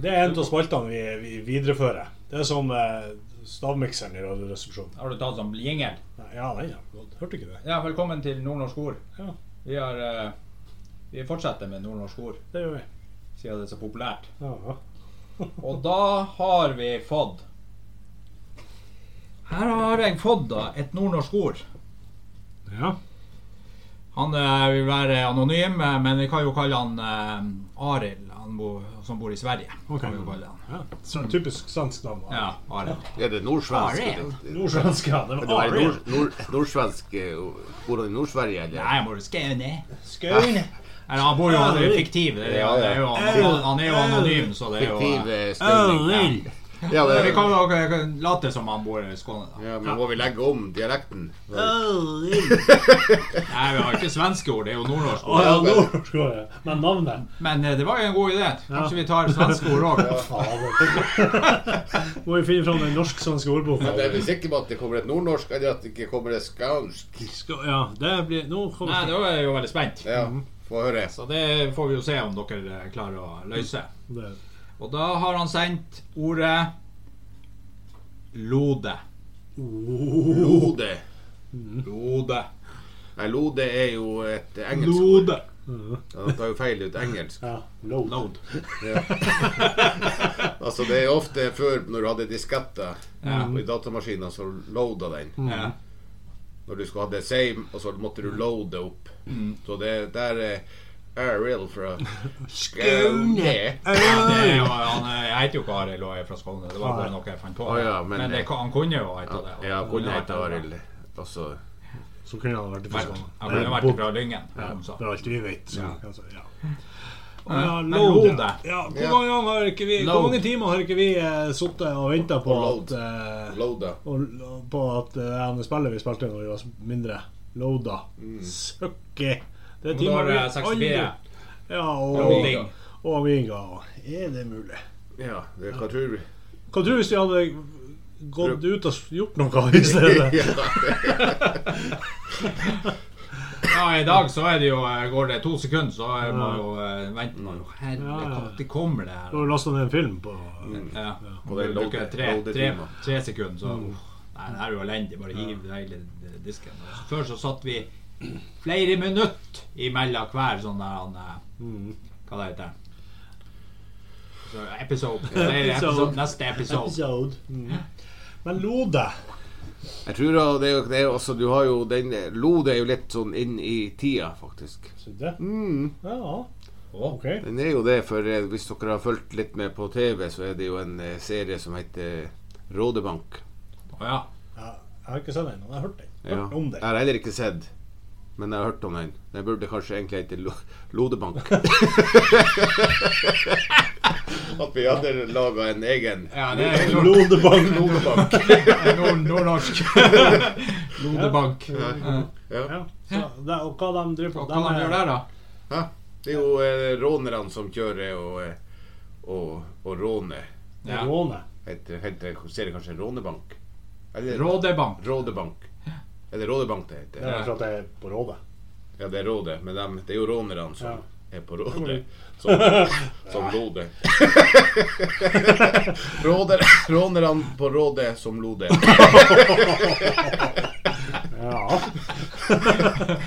S2: Det er en av spaltene vi, vi viderefører. Det er som eh, stavmikseren i Radioresepsjonen.
S1: Har du tatt sånn jingle?
S2: Nei, Ja, nei, ja. godt. Hørte ikke det.
S1: Ja, velkommen til nordnorsk ord.
S2: Ja.
S1: Vi har eh, Vi fortsetter med nordnorsk ord,
S2: Det gjør vi.
S1: siden det er så populært.
S2: Ja.
S1: Og da har vi fått Her har jeg fått da et nordnorsk ord.
S2: ja.
S1: Han eh, vil være anonym, eh, men vi kan jo kalle han eh, Arild, han bo, som bor i Sverige.
S2: Ok.
S1: Kan vi jo kalle han.
S2: ja. Så en typisk svensk navn. da.
S1: Ja, Arild.
S3: Er det nordsvensk?
S1: Ariel.
S3: eller?
S2: Nordsvensk, ja. Det
S3: Det
S2: var
S3: var
S2: Ariel.
S3: nord, nord, nordsvensk eh, Bor han i Nord-Sverige, eller?
S1: Nei, han bor i Skåne.
S2: Skøyne.
S1: Eller, han bor jo han er jo fiktiv. Det er, jo-
S3: Ja, ja.
S1: det er jo, han, han er jo anonym, så det er jo
S3: Fiktiv
S1: eh,
S3: eh, stilling.
S2: Ariel.
S3: Ja,
S1: Vi
S3: det,
S1: kan jo eh, late som han bor i Skåne. da.
S3: ja, men må vi legge om dialekten?
S2: Ariel.
S1: Nei, vi har ikke svenske ord, det er jo nordnorsk.
S2: Å ja, nordnorsk ord, ja. Men navnet
S1: Men eh, det var jo en god idé. Kanskje vi tar svenske ord òg.
S2: Må vi finne fram den norsk-svenske ordboka.
S3: Men jeg er vel sikker på at det kommer et nordnorsk, eller at det ikke kommer et skånsk.
S2: Skal- Ja, det blir Nå
S1: Nei,
S2: kommer
S1: da er jeg jo veldig spent.
S3: Ja, få høre.
S1: Så det får vi jo se om dere eh, klarer å løse.
S2: det.
S1: Og da har han sendt ordet lode.
S3: Lode.
S1: Lode.
S3: Nei, lode er jo et engelsk ord.
S1: Lode.
S3: Han tar jo feil ut engelsk.
S2: Ja, load.
S3: Load. Ja. altså, det er ofte før, når du hadde disketter og i datamaskiner, så loada den.
S1: Ja.
S3: Når du skulle ha det same, og så måtte du loade opp. Så det der er Arild fra Skaune.
S1: Det er jo, han, er- jeg heter jo ikke Arild og jeg er fra Skåne. Det var bare noe jeg fant på.
S3: Ah. Å ja, men-
S1: det, han kunne jo hete det.
S3: Ja, kunne hete Arild. Altså
S2: Så kunne han vært i
S1: Han
S2: Forsvaret.
S1: kunne vært fra Lyngen. som
S2: Det
S1: sagt.
S2: er alt vi vet. Så,
S1: Ja.
S2: altså, ja.
S1: Ja,
S2: Men
S1: men
S2: load,
S1: load,
S2: ja.
S1: det.
S2: Ja, hvor, mange ganger har ikke vi, hvor
S1: Load.
S2: mange timer har ikke vi eh, sittet og venta på
S3: Og
S2: at, eh,
S3: Loada.
S2: og- og på at eh, det ene spillet vi spilte når vi var mindre, loada?
S3: Mm.
S2: Søkke! Det er
S1: Men da
S2: timer
S1: har
S2: vi
S1: jeg 64.
S2: aldri Ja,
S1: Loading.
S2: og, og Amiga. Er det mulig?
S3: Ja, det er hva tror vi?
S2: Hva tror du hvis vi hadde gått ut og gjort noe i stedet?
S1: Ja, I dag så er det jo, eh, går det to sekunder, så er må jo eh, vente man
S3: Mm.
S1: jo.
S2: Ja, ja.
S1: Herregud, når kommer det her?
S2: Og lasta ned en film på
S3: Mm.
S1: Ja.
S3: Og det er
S1: Du bruker
S3: load-
S1: tre, tre,
S3: loadetimer.
S1: tre sekunder, så uff, Nei, det her er jo elendig. Bare hiv hele disken. Før så satt vi flere minutter imellom hver sånn der han eh, Hva det heter Så episode. Flere episode. Neste episode.
S2: episode. Mm. Men lode
S3: Jeg tror da det er, jo- det er jo også Du har jo den Lode er jo litt sånn inn i tida, faktisk.
S2: Syns du?
S3: Mm.
S2: Ja. Ok.
S3: Den er jo det, for eh, hvis dere har fulgt litt med på TV, så er det jo en eh, serie som heter Rådebank.
S1: Å ja.
S2: Ja, jeg har ikke sett den, men jeg har hørt den.
S3: Ja.
S2: Hørt om
S3: Jeg
S2: den.
S3: har heller ikke sett, men jeg har hørt om den. Den burde kanskje egentlig hete Lo- Lodebank. At vi hadde laga en egen
S1: ja. Det er jo
S2: Lodebank.
S3: Lodebank.
S1: nord- nordnorsk. Lodebank.
S3: Ja.
S2: Ja. Så, det, og hva de driver på
S1: Og hva
S2: de
S1: man
S2: er-
S1: gjør der, da?
S3: Hæ? Det er jo eh, rånerne som kjører og, eh, og, og råner.
S1: Ja.
S2: Råne.
S3: heter, heter ser det kanskje Rånebank? Eller
S1: Rådebank.
S3: Rådebank. Er det Rådebank det
S2: Det
S3: heter?
S2: er for at jeg er på Rådet.
S3: Ja, det er Rådet, men dem- det er jo rånerne som er på Rådet. Som, som Lode. Råder, rånerne på Rådet som Lode.
S2: Ja.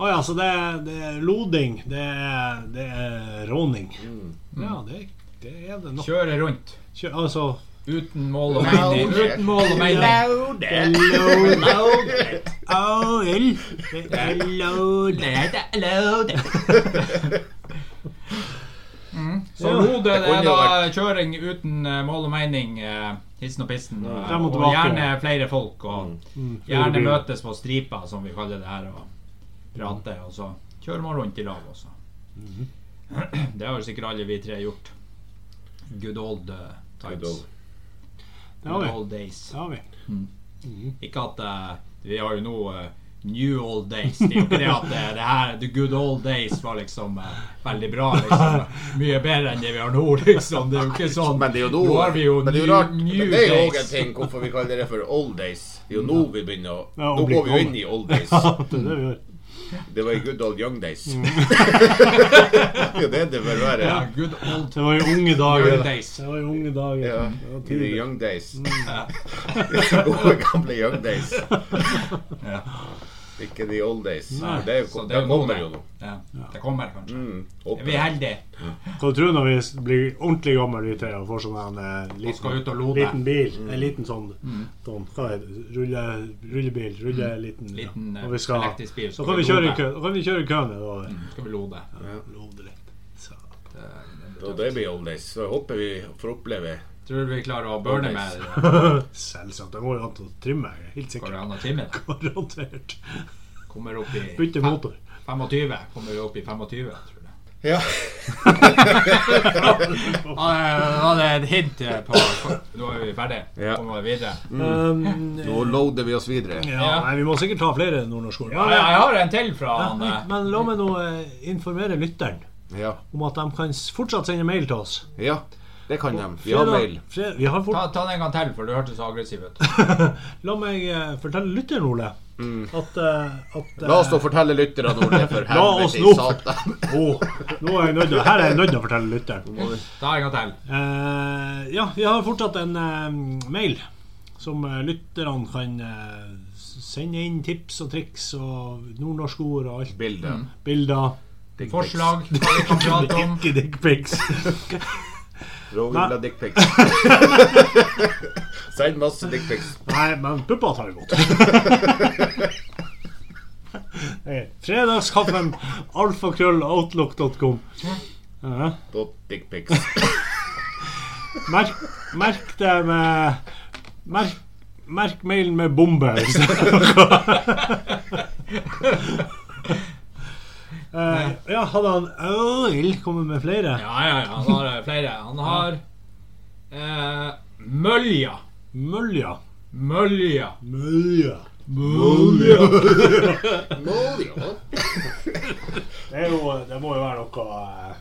S2: Å ja, så det er, det er loding. Det er, det er råning. Ja, det, det er det nok.
S1: Kjøre rundt.
S2: Kjø, altså
S1: Uten mål og mening.
S3: Loud.
S1: Uten mål og mening.
S2: Load. AOL. Det er load.
S1: Så hodet
S3: Det
S1: det
S3: kunne
S1: er
S3: jo
S1: da kjøring uten eh, mål og mening. eh, Hissen og pissen. eh,
S2: Frem og
S1: Og
S2: tilbake.
S1: gjerne flere folk. Og
S2: flere
S1: gjerne
S2: biler.
S1: møtes på stripa, som vi kaller det her, og prate. Og så kjører man rundt i lag også. Det har jo sikkert alle vi tre gjort. Good old eh,
S3: Good
S1: times.
S3: old.
S2: Det har
S1: Good
S2: vi.
S1: old days.
S2: Det har vi.
S1: Ikke at eh, Vi har jo nå eh, New old days. Det er jo ikke det at eh, det her The good old days var liksom eh, veldig bra. Liksom. Mye bedre enn det vi har nå, liksom. Det er jo ikke sånn.
S3: Men det er jo nå
S1: Nå har vi jo
S3: men det er jo
S1: new,
S3: rart.
S1: new
S3: det er jo også en
S1: days.
S3: ting hvorfor vi kaller det for old days. Det er jo nå vi begynner å
S2: Ja, og
S3: Nå
S2: blir
S3: går vi jo
S2: gammel.
S3: inn i old days.
S2: Det er det vi gjør.
S3: Det var i good old young days. det er det det bør være.
S1: Mm. Ja, good old
S2: Det var jo unge dager.
S1: Young days.
S2: Det var jo unge dager.
S3: Ja,
S2: Det var
S3: i the
S2: tidlig.
S3: young days.
S1: Mm.
S3: Gode, gamle young days.
S1: Ja.
S3: Ikke the old days.
S2: Nei,
S3: det, er, jo-
S1: Så
S3: det
S1: er
S3: kommer jo nå.
S1: Ja, det kommer kanskje.
S3: Mm,
S1: Er
S3: håper
S1: Vi
S3: jeg.
S1: er heldige.
S2: Hva tror du når vi blir ordentlig gamle vi tre og får sånn en eh,
S1: Vi skal
S2: liten,
S1: ut og lode. Mm.
S2: liten bil? En liten sånn, sånn hva er det, rulle, rullebil? Rulle liten, ja.
S1: Liten, eh,
S2: Og vi skal,
S1: elektrisk bil,
S2: Så
S1: skal
S2: kan
S1: vi
S2: vi kjøre i
S1: lode.
S2: kø. Da kan vi kjøre i køen et år.
S1: Mm, Skal vi lode.
S2: Lode litt. Så.
S3: Og det blir old days. Så jeg håper vi får oppleve
S1: Tror du vi klarer å burne med eh,
S2: Selvsagt. Det går jo an til å trimme. Jeg er helt
S1: går det
S2: sikker.
S1: an å trimme? det?
S2: Garantert.
S1: Kommer opp i
S2: Bytte motor.
S1: 25. Kommer vi opp i 25, tror jeg.
S3: Ja.
S1: Ja, det var det et hint eh, på Nå er vi ferdige.
S3: Ja.
S1: Kommer vi videre.
S2: Um,
S3: Mm. Nå loader vi oss videre.
S2: ja, nei, vi må sikkert ta flere nordnorskord.
S1: Ja, jeg har en til fra han
S2: Nei,
S1: eh,
S2: Men la meg nå eh, informere lytteren
S3: Ja.
S2: om at de kan s- fortsatt sende mail til oss.
S3: ja. Det kan de. Vi har
S2: Fredag-
S3: mail.
S2: fre- vi har fort,
S1: ta, ta den en gang til, for du hørtes så aggressiv ut.
S2: La meg eh, fortelle lytteren, Ole, at, eh, at
S3: Mm. La oss
S2: eh,
S3: nå fortelle lytterne om det, for
S2: La oss
S3: helvete i
S2: nå-
S3: satan.
S2: å, nå er jeg nødt til, Her er jeg nødt til å fortelle lytteren.
S1: Ta en gang til.
S2: Eh, ja, vi har fortsatt en eh, mail som eh, lytterne kan eh, s- sende inn tips og triks og nordnorske ord og alt.
S3: Bildet.
S2: Bilder. Dick
S1: Forslag hva vi kan prate om.
S2: Ikke dickpics.
S3: Roger
S2: Nei.
S3: vil ha dickpics. Send masse dickpics.
S2: Nei, men puppa tar vi imot. Ok, Eh, Fredagskaffen alfakrølloutlook.com. Ja.
S3: Dot dickpics.
S2: Merk, merk det med Merk, merk mailen med bombe. hvis det er noe. Eh, ja, hadde han Øl kommet med flere?
S1: Ja, ja, ja. Han har eh, flere. Han har eh, Mølja.
S2: Mølja.
S1: Mølja.
S2: Mølja.
S3: Mål, ja.
S2: Det, er jo, det må jo være noe eh,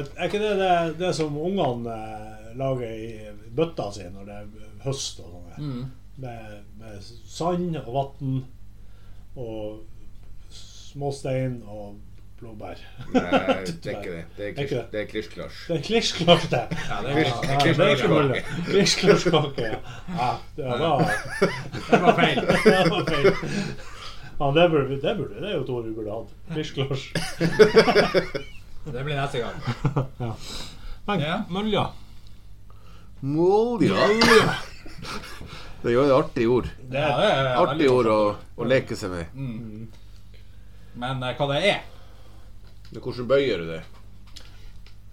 S2: et- Er ikke det det, det som ungene eh, lager i bøtta si når det er høst og sånn?
S1: Mm.
S2: Med, med sand og vann og småstein og blåbær.
S3: Nei, det er ikke det. Det er
S2: Det er ikke
S3: klisj-
S2: det.
S3: det er klisj-klasj.
S2: Det er klissklart, det.
S1: Ja, det,
S3: Klisj-
S1: var,
S2: Ja, det er ikke mulig.
S3: klisj-klasj.
S2: Klissklart-kake. Ja. Ja, det var,
S1: det var feil.
S2: det var feil. Ja, det burde, vi- det burde det er jo et ord vi burde hatt. Klissklart.
S1: Det blir neste gang. Ja.
S2: Mølja.
S3: Mål, ja. Det er jo et artig ord.
S2: Det
S1: Ja,
S2: er
S1: det er
S3: Artig
S1: veldig
S3: ord å, å leke seg med.
S1: godt. Men eh, hva det er?
S3: Men hvordan bøyer du det?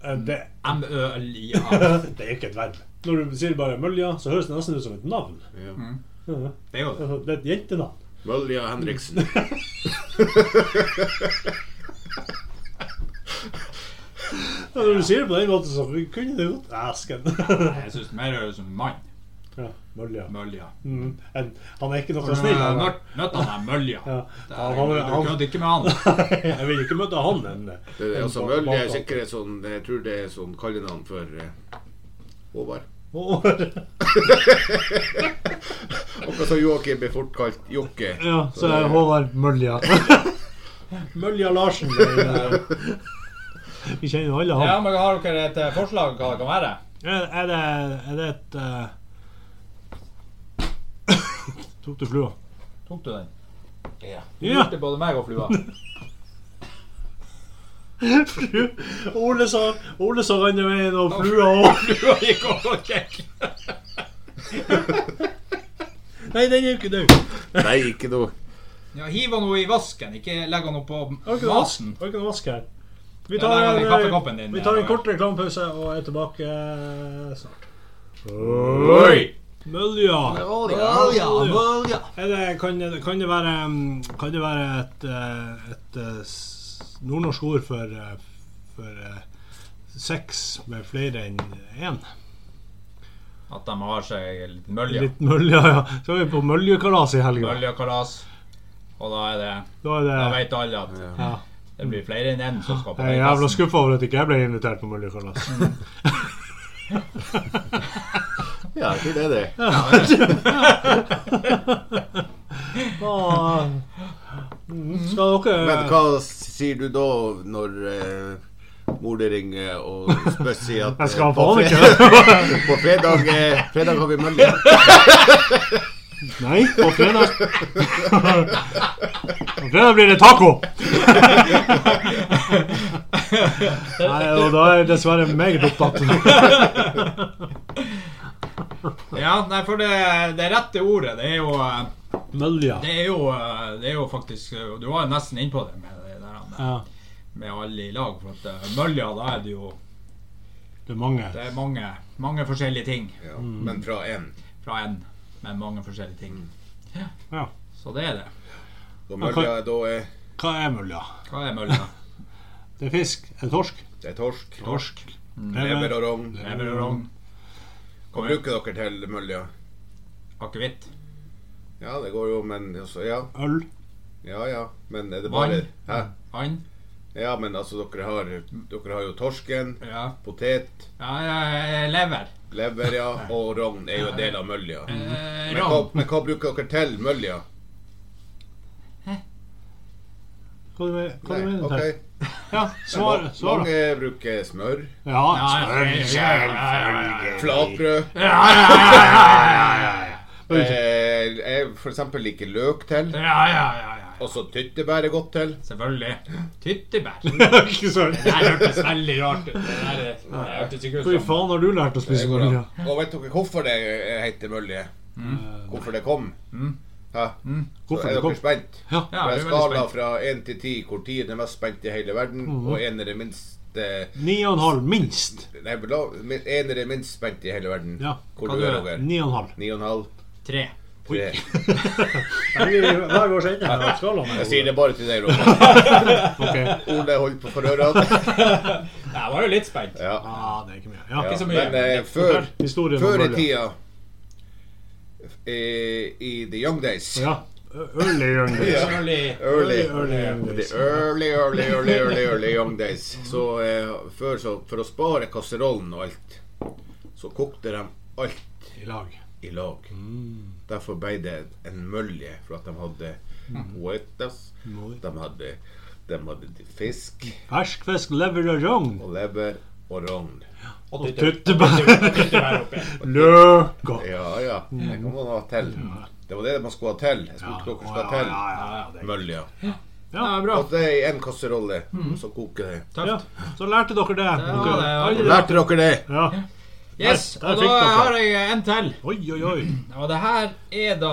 S2: Eh, det,
S1: M-ø-l-i-a.
S2: det er ikke et verb. Når du sier bare mølja, så høres det nesten ut som et navn.
S3: Ja.
S2: Ja,
S1: Det er jo det.
S2: altså, Det er et jentenavn.
S3: Mølja Henriksen.
S2: Ja, når du sier det på den måten, så kunne det godt Æsken.
S1: Jeg syns mer høres ut som mann.
S2: ja, mølja.
S1: Mølja.
S2: Mm. En, han er ikke noe
S1: Når
S2: snill.
S1: du
S2: Han,
S1: møt- møtte han der mølja
S2: ja.
S1: Det
S2: han,
S1: er-
S2: han,
S1: Du
S2: han,
S1: kødder ikke med han.
S2: jeg vil ikke møte han. En,
S3: Det er, altså,
S2: en
S3: Mølja er
S2: bak-
S3: sikkert et sånn Jeg tror det er sånn kallenavn for eh, Håvard.
S2: Hår.
S3: Akkurat som Joakim blir fort kalt Jokke.
S2: Ja, så er Håvard Mølja. Mølja Larsen. det er- eh, Vi kjenner jo alle han.
S1: Ja, men Har dere et eh, forslag hva det kan være?
S2: Er, er, det, er det et eh, Tok du flua?
S1: Tok du den? Ja. Du
S2: Ja.
S1: lurte både meg og flua.
S2: Fru- Ole sa, Ole sa andre veien, og flua òg.
S1: Flua gikk over og kjekk.
S2: Nei, den er jo ikke død.
S3: Nei, ikke noe.
S1: Ja, Hiv han noe i vasken, ikke legg han noe
S2: Har
S1: på
S2: ikke noe vask,
S1: masen.
S2: har ikke noe vask her. Vi
S1: Ja,
S2: tar,
S1: der var
S2: en,
S1: den
S2: eh,
S1: kaffekoppen din,
S2: vi
S1: ja,
S2: tar en
S1: det var-
S2: kort reklamepause og er tilbake eh, snart.
S1: Oi!
S2: Mølja.
S3: Mølja.
S2: Er det, kan, det, kan, det være, mm, kan det være et, eh, et eh, s- nordnorsk ord for, eh, for eh, sex med flere enn én?
S1: At de har seg litt mølja.
S2: Litt mølja, ja. Så er vi på møljekalas i helga.
S1: Møljakalas. Og da er det
S2: Da er det
S1: Da vet alle at
S2: ja.
S1: det blir flere enn én som skal på
S2: Jeg er
S1: den
S2: jævla
S1: festen.
S2: skuffa over at ikke jeg ble invitert på møljekalas.
S3: Ja, ikke det, det.
S2: Ah. Mm, Skal dere
S3: Men hva sier du da når eh, mor di ringer og spør si at
S2: Jeg skal
S3: eh,
S2: faen
S3: fre- På fredag, eh, fredag har vi mølja.
S2: Nei, på fredag På fredag blir det taco! Nei, og da er jeg dessverre meget opptatt.
S1: Ja, nei, for det, det rette ordet, det er jo eh,
S2: Mølja.
S1: Det er jo, eh, det er jo faktisk eh, Du var jo nesten innpå det med det der med-
S2: Ja,
S1: med alle i lag. For at eh, mølja, da er det jo
S2: det er mange.
S1: Det er mange, mange forskjellige ting
S3: Ja, men fra én.
S1: fra en, men mange forskjellige ting.
S2: Ja.
S1: Så det er det.
S3: Da mølja da er
S2: Hva er mølja?
S1: Hva er mølja?
S2: Det er fisk. Er det torsk? Mm.
S3: det er torsk,
S2: Torsk.
S3: lever og rogn.
S1: Lever og rogn?
S3: Hva bruker dere til mølja?
S1: Akevitt?
S3: Ja, det går jo, men også, ja,
S2: Øl.
S3: ja, ja. Men er det bare
S1: Vann?
S3: Hæ?
S1: And?
S3: Ja, men altså, dere har, dere har jo torsken,
S1: Ja.
S3: potet,
S1: ja, ja, ja, lever.
S3: lever, ja, og rogn er jo en del av mølja.
S1: Eh,
S3: Men hva,
S1: rogn.
S3: men hva bruker dere til mølja?
S2: Hva du men- hva du
S3: Nei,
S2: mener du
S3: ok.
S2: til? Ja, svar,
S3: Ma-
S2: svar. da.
S3: Mange bruker smør,
S2: Ja,
S1: Ja, ja, ja,
S3: flatbrød,
S1: ja, ja, ja, ja, ja, ja, ja, ja, ja,
S3: eh, jeg for eksempel liker løk til.
S1: ja, ja, ja, ja.
S3: Og så tyttebær er godt til.
S1: Selvfølgelig. Tyttebær.
S2: Ikke sant?
S1: Det her hørtes veldig rart ut. Det der er- det hørtes ikke ut
S2: Hvor
S1: som
S2: faen har du lært å
S3: Det
S2: spise
S3: går an.
S2: mølje?
S3: Og vet dere hvorfor det eh, heter mølje? Hvorfor det kom? Hæ? Så
S2: Mm. Hvorfor
S3: er
S2: det
S3: dere
S2: kom?
S3: spent?
S2: Ja.
S1: Ja,
S3: På
S1: vi
S3: en
S1: er veldig
S3: skala
S1: spent.
S3: fra én til ti, hvor ti er det mest spente i hele verden,
S2: Mm.
S3: og én er det minst eh,
S2: Ni og en halv, minst.
S3: Nei, la- min- én er det minst spente i hele verden.
S2: Ja.
S3: Hvor
S1: Hva
S3: du
S1: du
S3: er,
S1: er?
S3: Roger?
S2: Ni og en halv.
S3: Ni og en halv?
S1: tre.
S3: Tre.
S2: Hver vår ende av skalaen.
S3: Jeg sier det bare til deg, Roger.
S2: Ok.
S3: Ole holder på for ørene.
S1: Jeg var jo litt spent.
S3: Ja.
S2: Ah, det er ikke mye. Ja.
S3: Ja,
S1: så mye.
S3: men eh, før,
S2: Historien om
S3: før i
S2: mølje.
S3: tida eh, I the young days
S2: Ja. Early young days.
S3: Ja.
S1: Early.
S3: Early,
S2: Early, early young
S3: The
S2: days.
S3: early, early, early, early, early young days. Så eh, før så, For å spare kasserollen og alt, så kokte de alt
S2: I lag.
S3: i lag. Derfor ble det en mølje, for at de hadde
S2: Mm.
S3: poetas,
S2: Moi.
S3: de hadde, de hadde fisk
S2: Fersk fisk, lever og rogn.
S3: og lever og rogn.
S1: Og tyttebær.
S2: Tyttebær.
S1: Tyttebær oppi.
S2: Løka.
S3: Ja, ja. Det kan man ha til. Det var det man skulle ha til. Jeg spurte dere skal ha
S2: Ja,
S3: til.
S2: ja, ja, ja, det er-
S3: Mølja.
S2: Ja,
S3: Og det er i en kasserolle, så koker det.
S2: Ja,
S1: Tøft.
S2: så lærte dere det.
S1: var det, ja.
S2: Alle
S3: Lærte dere det?
S2: Ja.
S1: Yes,
S2: Der- der
S1: og
S2: fikk
S1: da
S2: dere.
S1: har jeg en til.
S2: Oi, oi, oi.
S1: Og det her er da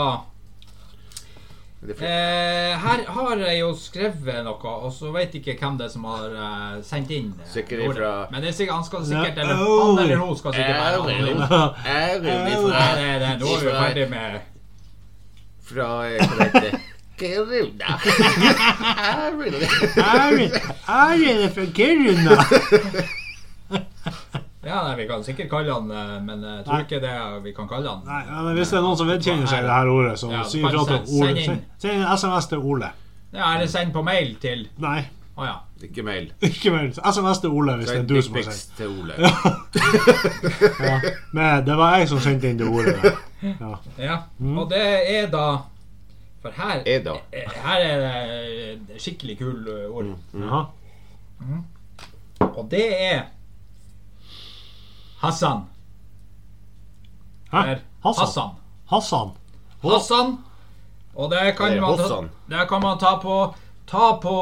S3: Det er fint.
S1: eh, Her har jeg jo skrevet noe, og så veit ikke hvem det er som har eh, sendt inn eh,
S3: Sikkert
S1: ordet.
S3: ifra- Eh,
S1: Men det er sikkert, han skal sikkert
S2: Ja.
S1: eller,
S2: Oh.
S1: Han eller hun skal sikkert være
S3: Ja,
S1: anonym.
S3: ja, Er hun
S1: Nei,
S3: ifra
S1: nei, nei, nå er vi
S3: Ifra-
S1: ferdig med
S3: Fra eh, hva heter det? Kiruna. Er hun det?
S2: Er det fra Kiruna?
S1: Ja, nei, vi kan sikkert kalle han eh, Men jeg tror
S2: Nei.
S1: ikke det er- vi kan kalle han.
S2: Nei, men hvis det er noen som vedkjenner seg det her ordet, så
S1: Ja,
S2: si
S1: bare
S2: ifra
S1: send-
S2: til
S1: send
S2: Ole.
S1: inn.
S2: Send- Send en SMS til Ole.
S1: Ja, eller send på mail til
S2: Nei,
S1: Å ja.
S3: Ikke mail.
S2: ikke mer. SMS til Ole hvis det er
S3: Send
S2: du som har
S3: dickpics
S2: sendt.
S3: til Ole.
S2: Ja. Men det var jeg som sendte inn det ordet. der. Ja.
S1: ja.
S2: Mm.
S1: Og det er da For her
S3: Er da.
S1: eh, Her er det skikkelig kul eh, ord.
S2: Jaha.
S1: Og det er Hassan.
S2: Hæ?
S1: Eller
S2: Hassan.
S1: Hassan.
S2: Hassan.
S1: Hassan. Og det kan,
S3: Det er
S1: man ta,
S3: Hossan.
S1: det kan man ta på Ta på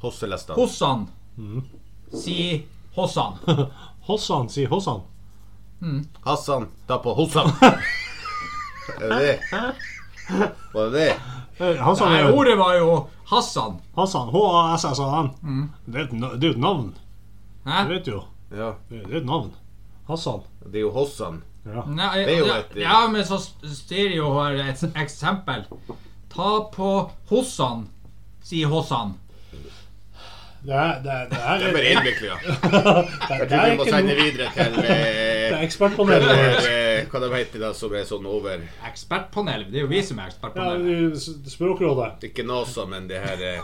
S3: Hosselesta.
S1: Hossan. Si Hossan.
S2: Hossan, sier Hossan.
S3: Hassan, ta på Hossan. Er det det? Var det det?
S2: Eh, Hassan
S1: Nei,
S2: er jo
S1: ordet var jo Hassan.
S2: Hassan. H-a-s-s-a-n.
S3: Mm.
S2: Det er et na- det er jo et navn.
S1: Hæ?
S2: Det vet du jo.
S3: Ja.
S2: Det er et navn. Hassan.
S3: Det er jo Hossan.
S2: Ja.
S1: Nei,
S3: Det er jo
S1: ja,
S3: et-
S1: ja, men så styrer jo her et eksempel. Ta på Hossan, sier Hossan.
S2: Det er, det er, det er,
S3: Det er bare innviklet, ja.
S2: det er,
S3: Jeg tror vi må
S2: ikke
S3: sende
S2: noe
S3: videre til
S2: Det er
S3: eh,
S2: ekspertpanelet.
S3: til, eh, Hva de heter de som er sånn over
S1: Ekspertpanel. Det er jo vi som er
S2: Ja,
S1: ekspertpanel.
S2: du- s- Språkrådet.
S3: Ikke NASA, men det her eh,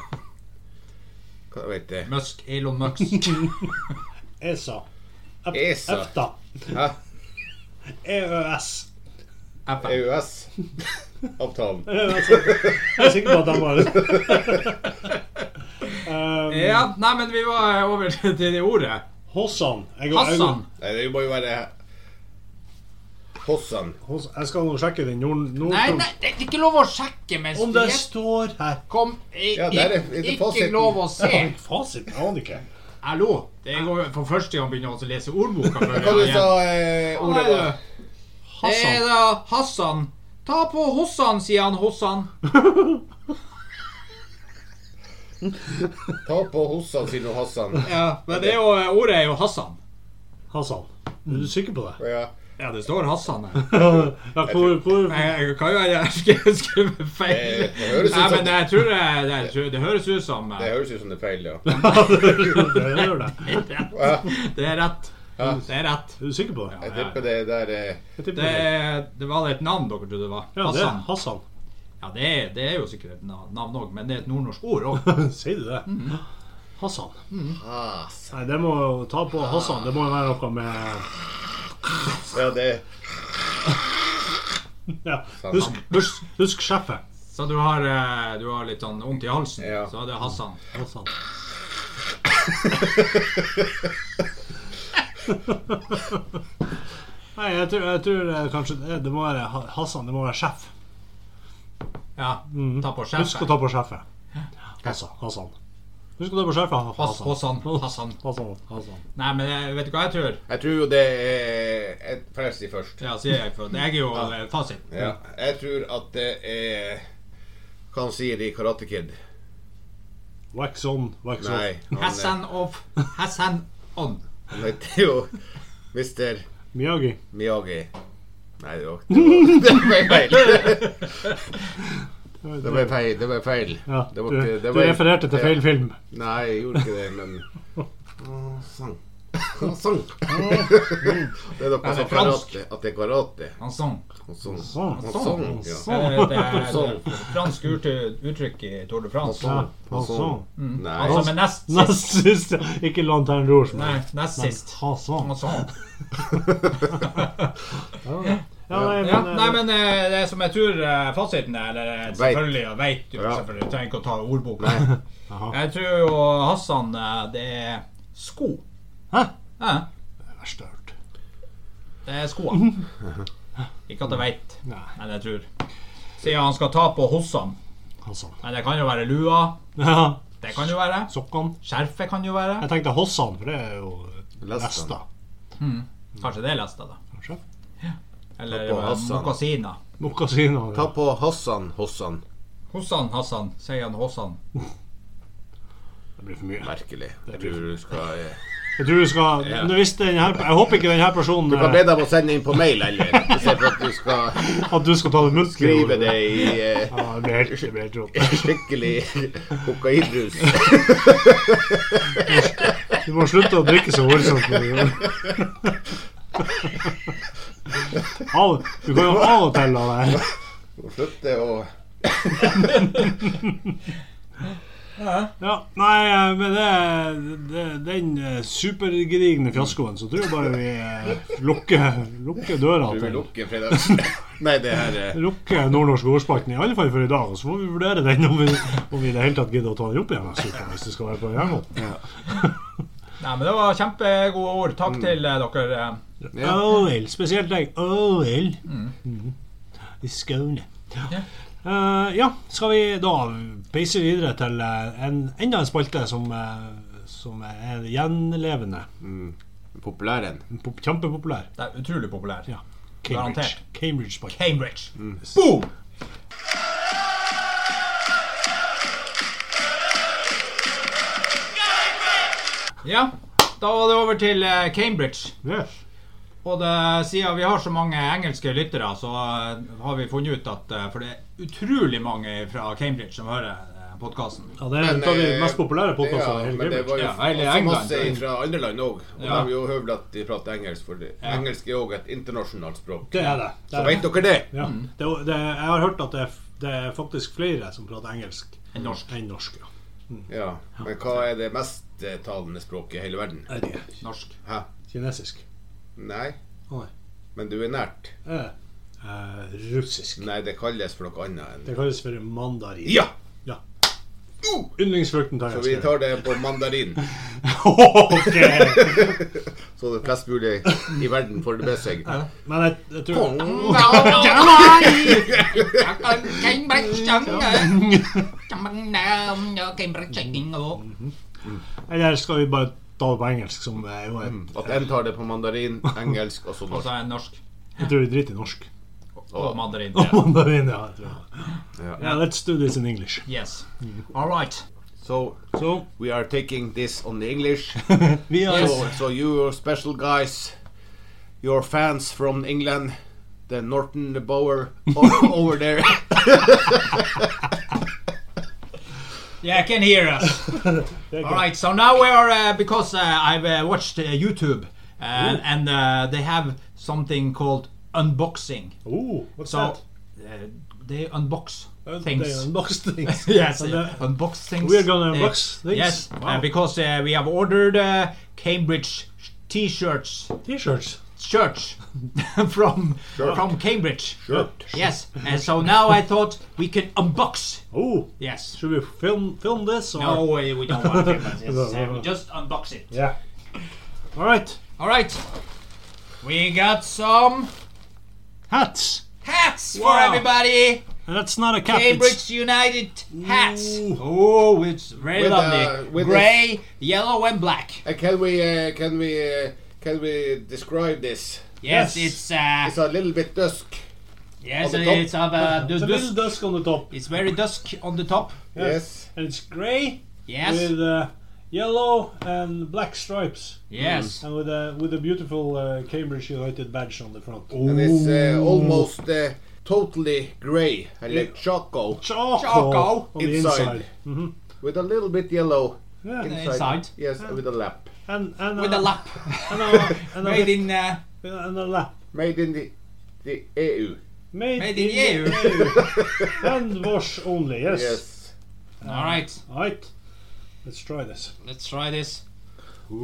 S3: Hva vet jeg
S1: Musk, Elon Musk.
S2: ESA. Ep-
S3: ESA.
S2: EFTA. E
S3: Hæ?
S2: EØS.
S3: E Eh,
S1: FN.
S3: EØS-avtalen.
S2: E Jeg er sikker på at de var um,
S1: Ja, nei, men vi var over til det ordet.
S2: Hossan. Jeg, jeg,
S1: Hassan.
S3: Nei, det må jo være Hossan.
S2: Hoss- jeg skal nå sjekke den nord... nord
S1: Nei, nei, det er ikke lov å sjekke mens
S2: Om
S1: du
S2: det
S1: gjetter.
S2: står her
S1: Kom, i-
S3: Ja, der er- er det
S1: ikke
S3: fasiten.
S1: lov å
S2: Jeg
S1: se.
S2: har ikke fasit. Jeg aner ikke.
S1: Hallo. Det går jo for første gang begynner jeg å lese ordboka. før
S3: Hva du
S1: jeg-
S3: sa eh, ordet
S1: Nei,
S3: var?
S1: du. Det er
S2: Hassan.
S1: Eh, da Hassan. Ta på Hossan, sier han Hossan.
S3: Ta på Hossan, sier nå Hassan.
S1: Ja, men det er jo, ordet er jo Hassan.
S2: Hassan. Er du sikker på det?
S3: Ja.
S1: Ja, det står Hassan her.
S2: Ja, hvor, hvor
S1: Nei, Jeg kan jo ha skrevet skrevet feil.
S3: Det- Eh, det høres ut
S1: Nei,
S3: som-
S1: men jeg tror det, det, jeg tror- det høres ut som
S3: Det
S1: eh,
S3: høres ut som det er feil, ja.
S2: Jeg gjør det.
S1: Det er rett. Det er rett.
S2: Er du sikker på det?
S3: Jeg tipper det der eh,
S2: Jeg tipper
S1: Det,
S2: det.
S1: er- det var et navn dere trodde det var.
S2: Ja, det er
S1: Hassan.
S2: Hassan.
S1: Ja, det er, det er jo sikkert et na- navn òg, men det er et nordnorsk ord òg.
S2: Sier du det? Hassan.
S3: Hassan.
S2: Nei, det må jo ta på Hassan. Det må jo være noe med
S3: Ja, det
S2: ja. Husk, husk, husk sjefet.
S1: Så du har, eh, du har litt sånn vondt i halsen,
S3: Ja.
S1: så det er Hassan.
S2: Hassan. Nei, jeg tror, jeg tror eh, kanskje det, det må være Ha- Hassan. Det må være sjef.
S1: Ja,
S2: Mm.
S1: ta på
S2: Husk å
S1: skjerfet.
S2: ta på skjerfet. Hassan. Hassan. Husk å ta på skjerfet.
S1: Pass
S2: Hassan.
S1: på sånn. Pass sånn.
S2: Hassan. Hassan.
S1: Nei, men jeg, vet du hva jeg tror?
S3: Jeg tror jo det er et Presti først.
S1: Ja, sier jeg, for jeg er jo eh, fasit.
S3: Ja. Jeg tror at det er Hva han sier i Karate Kid?
S2: Wax on, wax
S3: Nei.
S2: off.
S3: Han, er-
S1: Hassan off. Hassan on.
S3: han heter jo Mr.
S2: Miyagi.
S3: Miyagi. Nei, det var Det ble feil. Det ble feil. Det ble feil.
S2: Ja,
S3: Det var
S2: du,
S3: ikke- det
S2: du
S3: var-
S2: refererte til
S3: Ja.
S2: feil film.
S3: Nei, jeg gjorde ikke det, men Å, Sang. Han sang. Det er noe
S1: Han er
S3: som
S1: fransk.
S3: karate, at det er karate.
S1: Han sang.
S3: Han sang.
S2: Sånn.
S3: Han
S1: sang.
S3: sang, ja.
S1: Det er et
S3: Sånn.
S1: eh, fransk ut- uttrykk i Tour
S3: Han
S1: de France.
S3: sang. Han sang.
S1: Han
S3: Nei.
S1: som er nest sist.
S2: Nest siste. Ikke Lantern Rouge. men-
S1: Nei, nest sist.
S2: Hassan.
S1: Han sang.
S2: Ja, nei,
S1: Ja,
S2: men,
S1: nei, men eh, det som jeg tror eh, fasiten er, eller eh, selvfølgelig, ja, vet du
S3: Ja.
S1: selvfølgelig, du trenger ikke å ta ordboka. Jeg tror jo Hassan, eh, det er sko.
S2: Hæ?
S1: Ja,
S2: Det er størt.
S1: det er skoene. Ikke at jeg vet,
S2: Nei,
S1: men jeg tror. Sier han skal ta på hossene.
S2: Hassan.
S1: Men det kan jo være lua.
S2: Ja,
S1: Det kan jo være.
S2: Sokkan.
S1: Skjerfet kan jo være.
S2: Jeg tenkte Hassan, for det er jo eh,
S3: Lestan.
S2: Lesta.
S1: Kanskje det er lesta, da.
S2: Kanskje.
S1: Eller eh,
S3: Ta på Hassan.
S1: mokasiner.
S2: Mokasiner.
S3: Ta på Hassan Hossan.
S1: Hossan Hassan, sier han Hossan.
S2: Det blir for mye.
S3: Merkelig. Jeg tror du skal eh,
S2: Jeg tror du skal
S3: Ja.
S2: Nå visste den her, Jeg håper ikke denne personen
S3: Du kan
S2: eh,
S3: be dem å sende inn på mail, eller? I stedet for at du skal
S2: At du skal ta det muntlig.
S3: skrive det i eh,
S2: Ja, det blir helt, det blir helt rått.
S3: skikkelig kokainrus.
S2: Du må slutte å drikke så voldsomt. når du gjør det. Av, du kan jo av og til la være.
S3: Og Slutte å
S2: Ja, nei, eh, med det, det, den eh, supergedigne fiaskoen, så tror jeg bare vi eh, lukker, lukker døra
S3: Du vil
S2: til
S3: lukke fredags... Nei, det her eh,
S2: Lukke Nordnorsk ordspalten, i alle fall for i dag. Og så får vi vurdere den om vi, om vi i det hele tatt gidder å ta den opp igjen neste uke, hvis det skal være på jernbanen.
S1: Nei, men det var kjempegode ord. Takk til eh, dere. eh.
S3: Ja.
S2: OL, spesielt deg. OL. Mhm. I Skåne.
S1: Mm. Ja.
S2: Eh, ja, skal vi da peise videre til eh, en, enda en spalte som, eh, som er gjenlevende.
S3: Populæren.
S2: Pop- Kjempepopulær.
S1: Det er utrolig populær.
S2: Ja. Cambridge.
S1: Garantert.
S2: Cambridge-spalte.
S1: Cambridge. Boom! Ja, da var det over til eh, Cambridge.
S2: Yes.
S1: Og det, siden vi har så mange engelske lyttere, så eh, har vi funnet ut at eh, For det er utrolig mange fra Cambridge som hører eh, podkasten.
S2: Ja, det er en av de
S3: eh,
S2: mest populære
S3: Ja,
S2: podkastene i hele
S3: men det
S2: Cambridge.
S3: var jo
S1: Ja, hele
S3: så
S1: England.
S3: masse fra andre land òg. Og
S1: Ja.
S3: de er jo høvelig at de prater engelsk, for det-
S1: Ja.
S3: engelsk er òg et internasjonalt språk.
S2: Det er det. det,
S3: Så
S2: er
S3: vet
S2: det.
S3: dere det?
S2: Ja.
S1: Mm.
S2: det, er- det er- jeg har hørt at det er, f- det er faktisk flere som prater engelsk
S1: Enn norsk.
S2: Enn norsk ja.
S3: Ja. Men hva er det mest eh, talende språket i hele verden?
S2: Er det
S1: Norsk.
S3: Hæ?
S2: Kinesisk.
S3: Nei?
S2: Å nei.
S3: Men du er nært.
S2: Er det? Eh, russisk.
S3: Nei, det kalles for noe annet enn
S2: Det kalles for mandarin.
S3: Ja!
S2: Yndlingsfrukten tar
S3: Så
S2: jeg.
S3: vi
S2: skal
S3: tar det på mandarin.
S2: jeg. Ok.
S3: Så det flest mulig i verden får det med seg.
S2: Men jeg, jeg tror Eller skal vi bare ta det på engelsk, som er jo et
S3: At en tar det på mandarin, engelsk og så
S1: Og
S3: norsk.
S1: så er det norsk
S2: Jeg tror vi driter i norsk.
S1: og mandarin.
S2: Mandarin, ja. Jeg tror.
S3: Ja.
S2: Yeah, let's do this in English.
S1: Yes. All right.
S3: So
S2: So,
S3: we are taking this on the English.
S2: vi har
S3: So, so you your special guys, your fans from England, the Norton the Bower o- over there.
S1: Yeah, I can hear us. All right, so now we are uh, because uh, I've uh, watched uh, YouTube and, and uh, they have something called unboxing.
S2: Oh, what's
S1: So uh, they unbox
S2: that?
S1: things.
S2: Uh, They unbox things.
S1: yes,
S2: And,
S1: uh,
S2: uh,
S1: unbox things.
S2: we are gonna
S1: Uh,
S2: unbox things?
S1: Yes, uh,
S2: Wow.
S1: because uh, we have ordered uh, Cambridge t-shirts,
S2: T-shirts.
S1: shirts from from Cambridge.
S3: Shirt.
S1: Yes, and so now I thought we can unbox.
S2: Oh,
S1: Yes.
S2: should we film film this? Or?
S1: No, we we don't want to. Yes, uh, we just unbox it.
S2: Yeah. All right.
S1: All right. We got some
S2: Hats.
S1: hats
S2: Wow.
S1: for everybody.
S2: That's not a cap.
S1: Cambridge United hats.
S2: Ooh.
S1: Oh, it's very
S3: With, uh,
S1: lovely.
S3: with
S1: Gray, yellow, and black.
S3: And can we uh, can we uh, can we describe this?
S2: Yes.
S1: Yes, it's uh,
S3: It's a little bit dusk.
S1: yes,
S3: on the top.
S1: it's of uh,
S2: It's
S1: the
S2: a little
S1: dusk.
S2: dusk on the top.
S1: It's very dusk on the top.
S3: Yes.
S2: And it's grey
S1: Yes,
S2: with uh, yellow and black stripes. Mm.
S1: yes.
S2: And with a with a beautiful uh, Cambridge United badge on the front.
S3: And it's uh, almost uh, totally grey and like choco
S2: Choco,
S1: Choco.
S2: on the
S3: Inside.
S2: inside. Mhm.
S3: with a little bit yellow
S2: Yeah.
S3: inside.
S1: Inside.
S3: Yes, with a lap.
S2: And, and
S1: With a lap
S2: And a, and a,
S1: made in uh,
S2: and a lap.
S3: Made in the the E EU.
S2: Made,
S1: made in
S2: the
S1: EU.
S2: Hand wash only, yes.
S3: Yes.
S1: All right,
S2: Alright. Let's try this.
S1: let's try this.
S2: I'm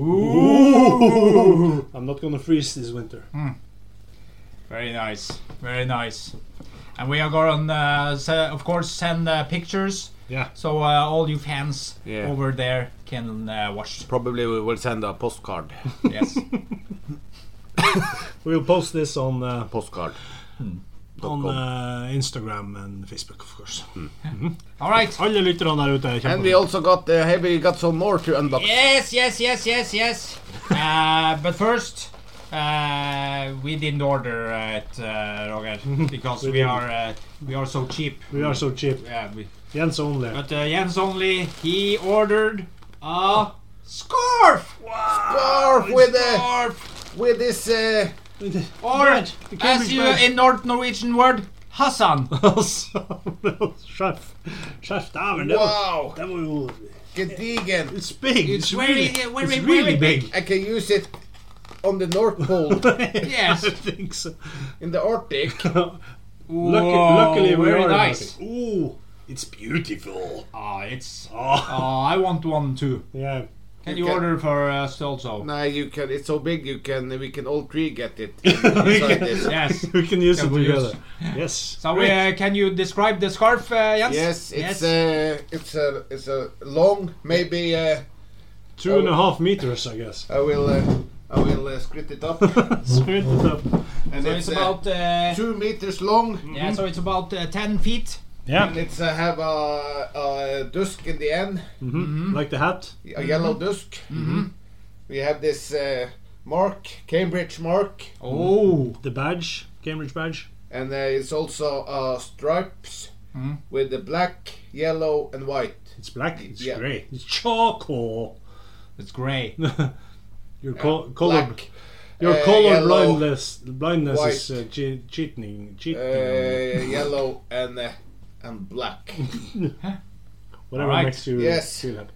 S2: not gonna freeze this winter.
S1: Mm. Very nice, very nice. And we are going to, uh, se- of course, send uh, pictures
S2: Yeah.
S1: so uh, all you fans
S3: Yeah.
S1: over there can uh, watch.
S3: Probably we will send a postcard.
S1: Yes.
S2: We'll post this on uh,
S3: postcard.
S2: Hmm. on
S3: com.
S2: uh, Instagram and Facebook, of course.
S1: all right.
S2: Alle lytterne der ute er
S3: And we
S2: kjempeflinke.
S3: also got uh, hey, we got some more to unbox.
S1: Yes, yes, yes, yes, yes. Uh, but first, uh, we didn't order uh, it, uh, Roger, because
S2: We
S1: we are uh, we are so cheap.
S2: We are so cheap.
S1: Yeah, we,
S2: Jens only.
S1: but uh, Jens only he ordered a scarf.
S3: Scarf with uh,
S1: Scarf.
S3: with this uh,
S1: Or
S2: Badge, the Cambridge
S1: as you
S2: badge.
S1: in North Norwegian word, Hassan.
S2: Altså, Sjef. Sjef, dæven. det var-
S3: wow
S2: Det var jo
S3: gedigen.
S2: It's big.
S1: It's very- very,
S2: it's
S1: very
S2: really
S1: big.
S3: I can use it on the North Pole
S1: Yes.
S2: I think so.
S3: in the Arctic.
S2: Lucky,
S1: Whoa,
S2: luckily, we
S1: very
S2: are
S1: nice.
S2: Ooh, it's beautiful.
S1: Ah, it's.
S2: Oh.
S1: Oh, I want one too.
S2: Yeah.
S1: Can
S3: You
S1: you
S3: can-
S1: order for uh, us also?
S3: Nah, you can. It's so big. You can. We can all three get it.
S2: We
S3: Inside
S2: can-
S3: this.
S1: Yes.
S2: we can use
S1: Can
S2: it
S1: we use-
S2: together. Yes.
S1: So we, uh, can you describe the scarf, uh, Jens?
S3: Yes, it's uh, it's a it's a long. Maybe uh,
S2: Two and a half meters, I guess.
S3: I will uh, I will uh, split it up.
S2: Split it up.
S3: And
S1: so
S3: it's,
S1: it's
S3: uh,
S1: about uh,
S3: two meters long.
S1: yeah, so it's about uh, ten feet.
S2: Yeah.
S3: And it's uh, have a, a dusk in the end,
S2: Mm-hmm. Like the hat.
S3: a yellow
S1: Mm-hmm.
S3: dusk. We have this uh, mark, Cambridge mark,
S1: Oh,
S2: The badge. Cambridge badge.
S3: and uh, it's also uh, stripes
S1: Mm-hmm.
S3: with the black, yellow, and white.
S2: It's black. It's
S3: Yeah.
S2: grey. It's charcoal.
S1: it's grey.
S2: Your co- color.
S3: Black,
S2: Your
S3: uh,
S2: color
S3: yellow,
S2: blindness. Blindness is
S3: white.
S2: uh, che- cheating. Cheating.
S3: uh, yellow, and uh, and black.
S2: Whatever
S1: Alright.
S2: makes you
S3: Yes.
S2: feel happy.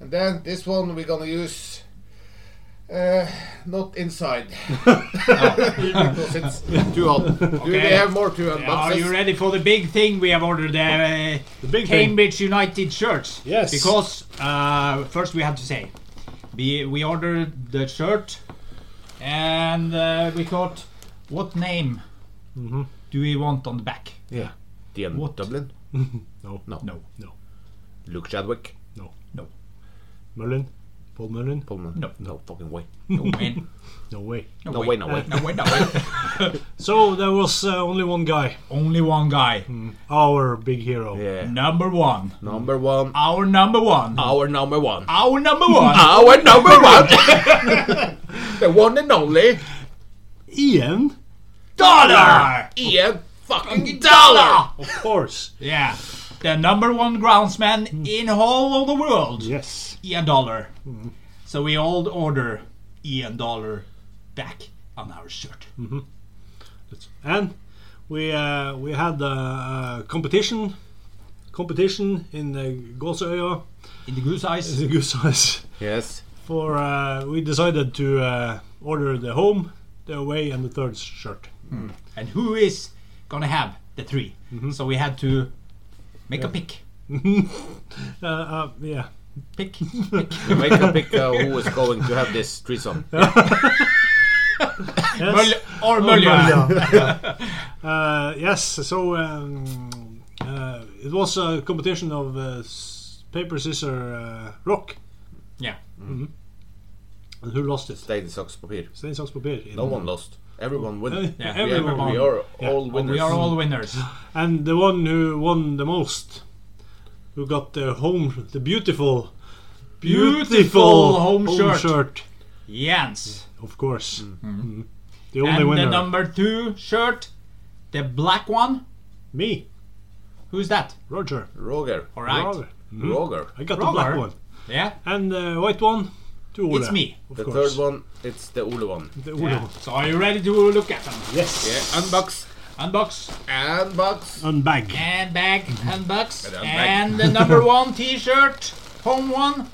S3: And then this one we're gonna use. Uh, not inside because it's too hot. Do we
S1: Okay.
S3: have more to unbox?
S1: Are you ready for the big thing we have ordered? Uh,
S2: The big thing.
S1: Cambridge United shirts.
S2: Yes.
S1: Because uh, first we have to say, we we ordered the shirt, and uh, we thought, what name
S3: Mm-hmm.
S1: do we want on the back?
S3: Yeah. The end.
S1: What?
S3: Dublin.
S2: No.
S3: No.
S1: No,
S3: Luke Chadwick.
S2: Mullen. Paul Mullen.
S3: Pullman.
S1: No.
S3: No fucking way.
S1: no man,
S2: No way.
S1: no,
S3: No way, no way.
S1: no way, no way.
S2: So there was uh, only one guy.
S1: Only one guy,
S3: Mm.
S2: Our big hero.
S3: Yeah.
S1: number one.
S3: Uh, Number one.
S1: Our number one.
S3: Our number one.
S1: Our number one.
S3: Uh. Our number one. the one and only
S2: Ian.
S1: Dollar.
S3: Ian fucking Dollar.
S2: Of course.
S1: Yeah. The number one
S3: Mm.
S1: groundsman in whole of the world.
S2: yes.
S1: Ian E Dollar. So we all order Ian Dollar back on our shirt.
S2: And we uh, we had a, uh competition competition in the Gåsøya
S1: In the goose eyes.
S2: the Goose House.
S3: Yes.
S2: For uh, we decided to uh, order the home, the away, and the third shirt.
S1: And who is gonna have the 3 So we had to make a pick.
S2: Uh, uh, yeah.
S1: Pick.
S3: Make a pick uh, who is going to have this threesome.
S2: Yes.
S1: Mølle or Mølja.
S2: uh, yes. So um, uh, it was a competition of uh, s- paper, scissor, uh, rock,
S1: Yeah.
S2: and who lost it?
S3: Stein, socks, papir.
S2: Stein, saks, papir.
S3: No one lost. Everyone win.
S1: Yeah,
S2: Yeah,
S3: We are-
S2: everyone.
S3: we are
S2: Yeah.
S3: all
S1: Oh, We
S3: winners.
S1: are all winners.
S2: And the one who won the most, who got the home, the beautiful, beautiful,
S1: Beautiful home
S2: home, shirt.
S1: shirt. Jens.
S2: of course.
S3: Mm.
S2: Mhm. The only
S1: Mm-hmm. And
S2: winner,
S1: the number two shirt, the black one.
S2: me,
S1: Who's that?
S2: Roger.
S3: Roger. Mm-hmm.
S1: All right.
S2: Roger.
S3: Roger.
S2: I got
S1: Roger.
S2: the black one
S1: Yeah,
S2: and the white one. To Ole.
S1: it's me.
S2: of
S3: The
S2: course.
S3: third one, it's the Ole one.
S2: The Ole
S1: Yeah.
S2: one.
S1: So are you ready to look at them?
S2: Yes.
S3: Yeah, unbox.
S1: Unbox
S3: Unbox.
S2: Unbag.
S1: and bag, unbox
S3: And unbag.
S1: and the number one T-shirt, home one.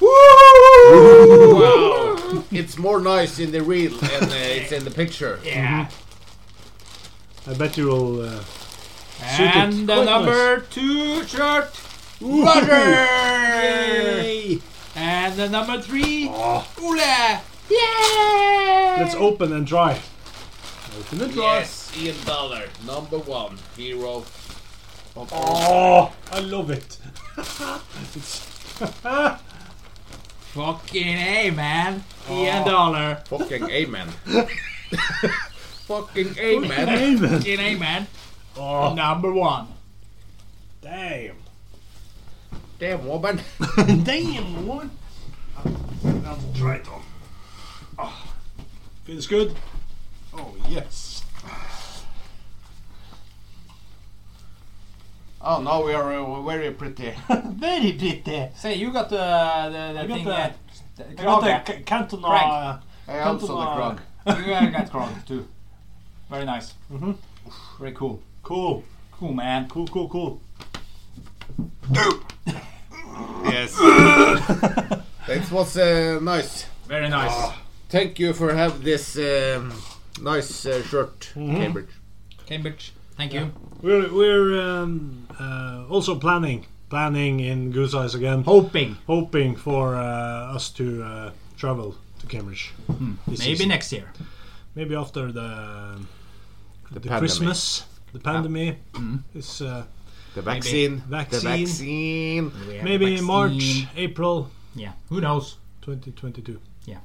S3: Wow. it's more nice in the real and uh, it's in the picture.
S1: Yeah.
S2: I bet you will. Uh, Suited.
S1: And the
S2: Quite
S1: number two shirt, Roger.
S2: Yay!
S1: And the number three,
S2: Oh.
S1: Ole. Yay!
S2: Let's open and try. Open and try.
S3: Yes, Ian Dollar, number one hero of all.
S2: Oh, I love it. it's
S1: Fucking A, man. Ian Dollar.
S3: Fucking amen. Fucking amen.
S2: Amen.
S1: Fucking A, man.
S2: Oh,
S1: Number one.
S2: damn.
S3: Damn woman.
S2: damn, woman. That's right on. Oh, feels good. Oh, yes.
S3: Oh, now we are uh, very pretty.
S2: Very pretty.
S1: Say, you got the, the, the
S2: I got
S1: thing
S2: the-
S1: that.
S2: I got the C- Cantona. uh,
S1: Craig.
S3: I also the grog.
S1: you uh, got Krog too. Very nice.
S2: Mhm.
S1: Very cool.
S2: Cool,
S1: Cool, man.
S2: cool, cool, cool.
S3: Yes. that was uh, nice.
S1: Very nice.
S3: Thank you for have this um, nice uh, shirt,
S2: Mm-hmm.
S3: Cambridge.
S1: Cambridge, thank you.
S2: We're we're um, uh, also planning planning in Goose Eyes again,
S1: Hoping.
S2: hoping for uh, us to uh, travel to Cambridge. this
S1: Hmm. Maybe
S2: season.
S1: next year.
S2: maybe after the the,
S3: pandemic.
S2: Christmas, the pandemic
S1: Hmm.
S2: is uh,
S3: The vaccine. The
S2: Vaccine.
S3: vaccine.
S1: We have
S2: maybe
S1: vaccine.
S2: March, April,
S1: Yeah, who knows?
S2: 2022.
S1: Ja.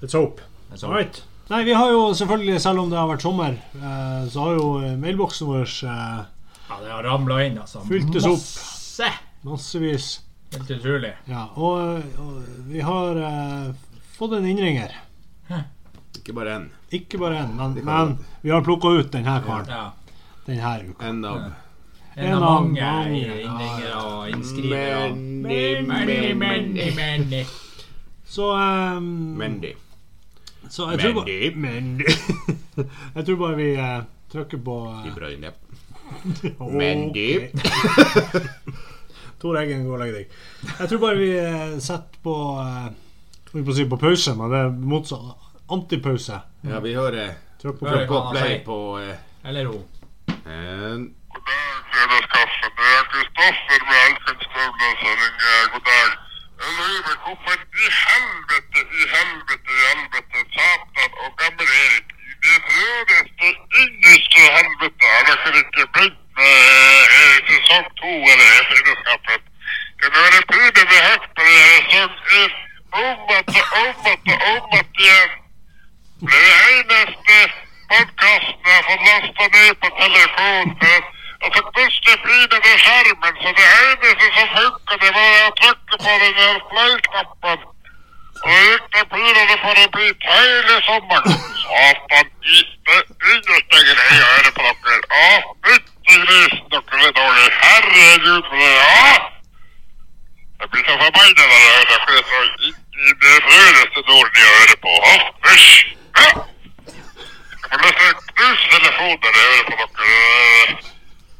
S2: Let's hope.
S1: That's
S2: All right. Nei, vi har jo selvfølgelig, selv om det har vært sommer, eh, så har jo eh, mailboksen vår eh,
S1: Ja, det har ramla inn, altså.
S2: Fyltes opp.
S1: Masse!
S2: massevis.
S1: Helt utrolig.
S2: Ja, og, og vi har eh, fått en innringer.
S3: Ikke bare en.
S2: Ikke bare én, men,
S3: kan-
S2: men vi har plukka ut denne karen
S1: Ja.
S2: denne uka.
S3: En av
S1: En,
S2: En
S1: av
S2: av
S1: mange
S2: mange, ja.
S1: innringere og innskrivere.
S3: Mandy.
S1: Many, many, many.
S2: Så um,
S3: Mandy.
S2: Så jeg tror, bare,
S3: Mandy.
S2: jeg tror bare vi eh, trykker på eh,
S3: I brøyne.
S2: ok.
S3: Mandy.
S2: Tor Eggen, gå og legg deg. Jeg tror bare vi eh, setter på eh, Jeg holdt på å si på pause, men det er motsatt. Antipause.
S3: Ja, vi hører
S2: Trykk på
S1: Hør.
S2: play.
S3: på play på eh,
S1: Eller hun.
S3: en
S4: God dag, fredagskaffen. Det er Kristoffer med Elkenstøvla som ringer. God dag. Jeg lurer meg hvorfor i helvete, i helvete, i helvete, Satan og gammel Erik i det rødeste, innerste helvete har dere ikke begynt med eh, eh, sesong to eller i Fredagskaffen. Det er pine med hekter sånn i sesong én. Om at og om at og om at igjen. Det er eneste podkasten jeg har fått lasta ned på telefon. for- Og så plutselig flyr det med skjermen, så det eneste som funka, det var å trykke på den der play-knappen. Og det gikk det pirrende for en bit hele sommeren. Satan i det innerste greia å høre på dere. Å, fytti grisen, dere er dårlige. Herregud, for det Ja! Jeg blir så forbanna når jeg hører dere så inn i det rødeste dårlige jeg hører på. Å, Hysj! Ja. Jeg får lyst til å knuse telefonen når jeg hører på dere.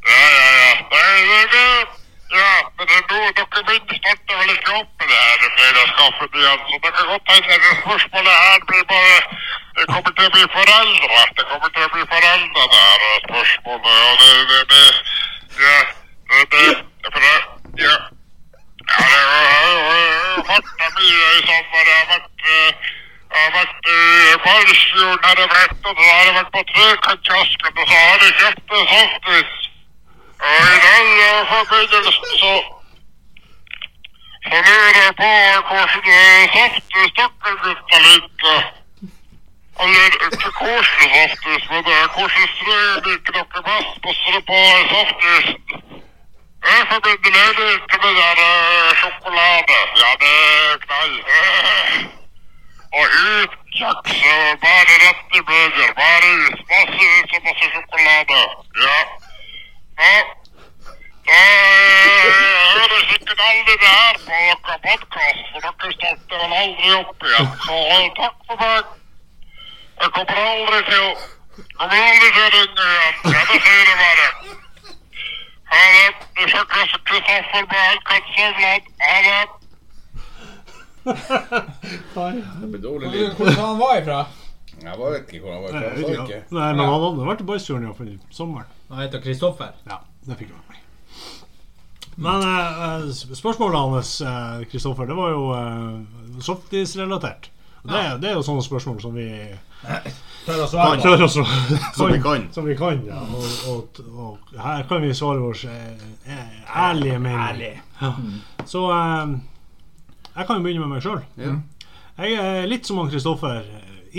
S4: Ja, ja, ja. Nei, det, det. Ja, men det er noe dere begynner starter vel ikke opp med det her fredagskaffen igjen, så det kan godt hende det spørsmålet her blir bare Det kommer til å bli foreldre. Det kommer til å bli foreldre, det her spørsmålet. Og det, det, det Ja. Det, det, for det, ja. Ja, det har farta mye i sommer. Jeg har vært eh, jeg har vært i Balsfjorden, har jeg vært, og så har jeg vært på Trekantiasken, og så har jeg kjøpt en softis. Og i den eh, forbindelsen så så lurer jeg på hvordan eh, softis dere gutta liker. Eller eh, koselig saftis, men det er hvordan strøer liker dere best på strøpbar saftis? Jeg forbinder ledighet med der eh, sjokolade. Ja, det er knall. Eh. Og ut kjeks og bare rett i burger. Bare ut. Masse ut og masse sjokolade. Ja. Ja. Da eh, høres ikke aldri det her på dere podkast, for dere starter vel aldri opp igjen. Så eh, takk for meg. Jeg kommer aldri til å Kommer aldri til å ringe igjen. Ja, det sier jeg bare. Ha det. Jeg skal kysse Kristoffer med han kan Søvland. Ha det.
S3: Det blir dårlig lyd.
S1: Hvor han var ifra?
S3: Jeg var- vet ikke hvor han var.
S2: er
S3: fra,
S2: Nei, jeg
S3: Han
S2: vet
S3: sa
S2: ikke.
S3: ikke.
S2: Nei, men han hadde vært i boysturen iallfall i sommeren.
S1: Han heter Kristoffer.
S2: Ja, det fikk jeg med meg. Men eh, eh, sp- spørsmålet hans, eh, Kristoffer, det var jo eh, softis-relatert. Og Det, det er jo sånne spørsmål som vi
S1: Tør å
S2: kan,
S1: svare på.
S2: tør å svare-
S3: Som vi kan.
S2: Som vi kan, ja. Og, og, og her kan vi svare vår eh, eh, ærlige mening.
S1: Ærlig.
S2: Ja. Så eh, jeg kan jo begynne med meg sjøl.
S3: Ja.
S2: Jeg er litt som han Kristoffer.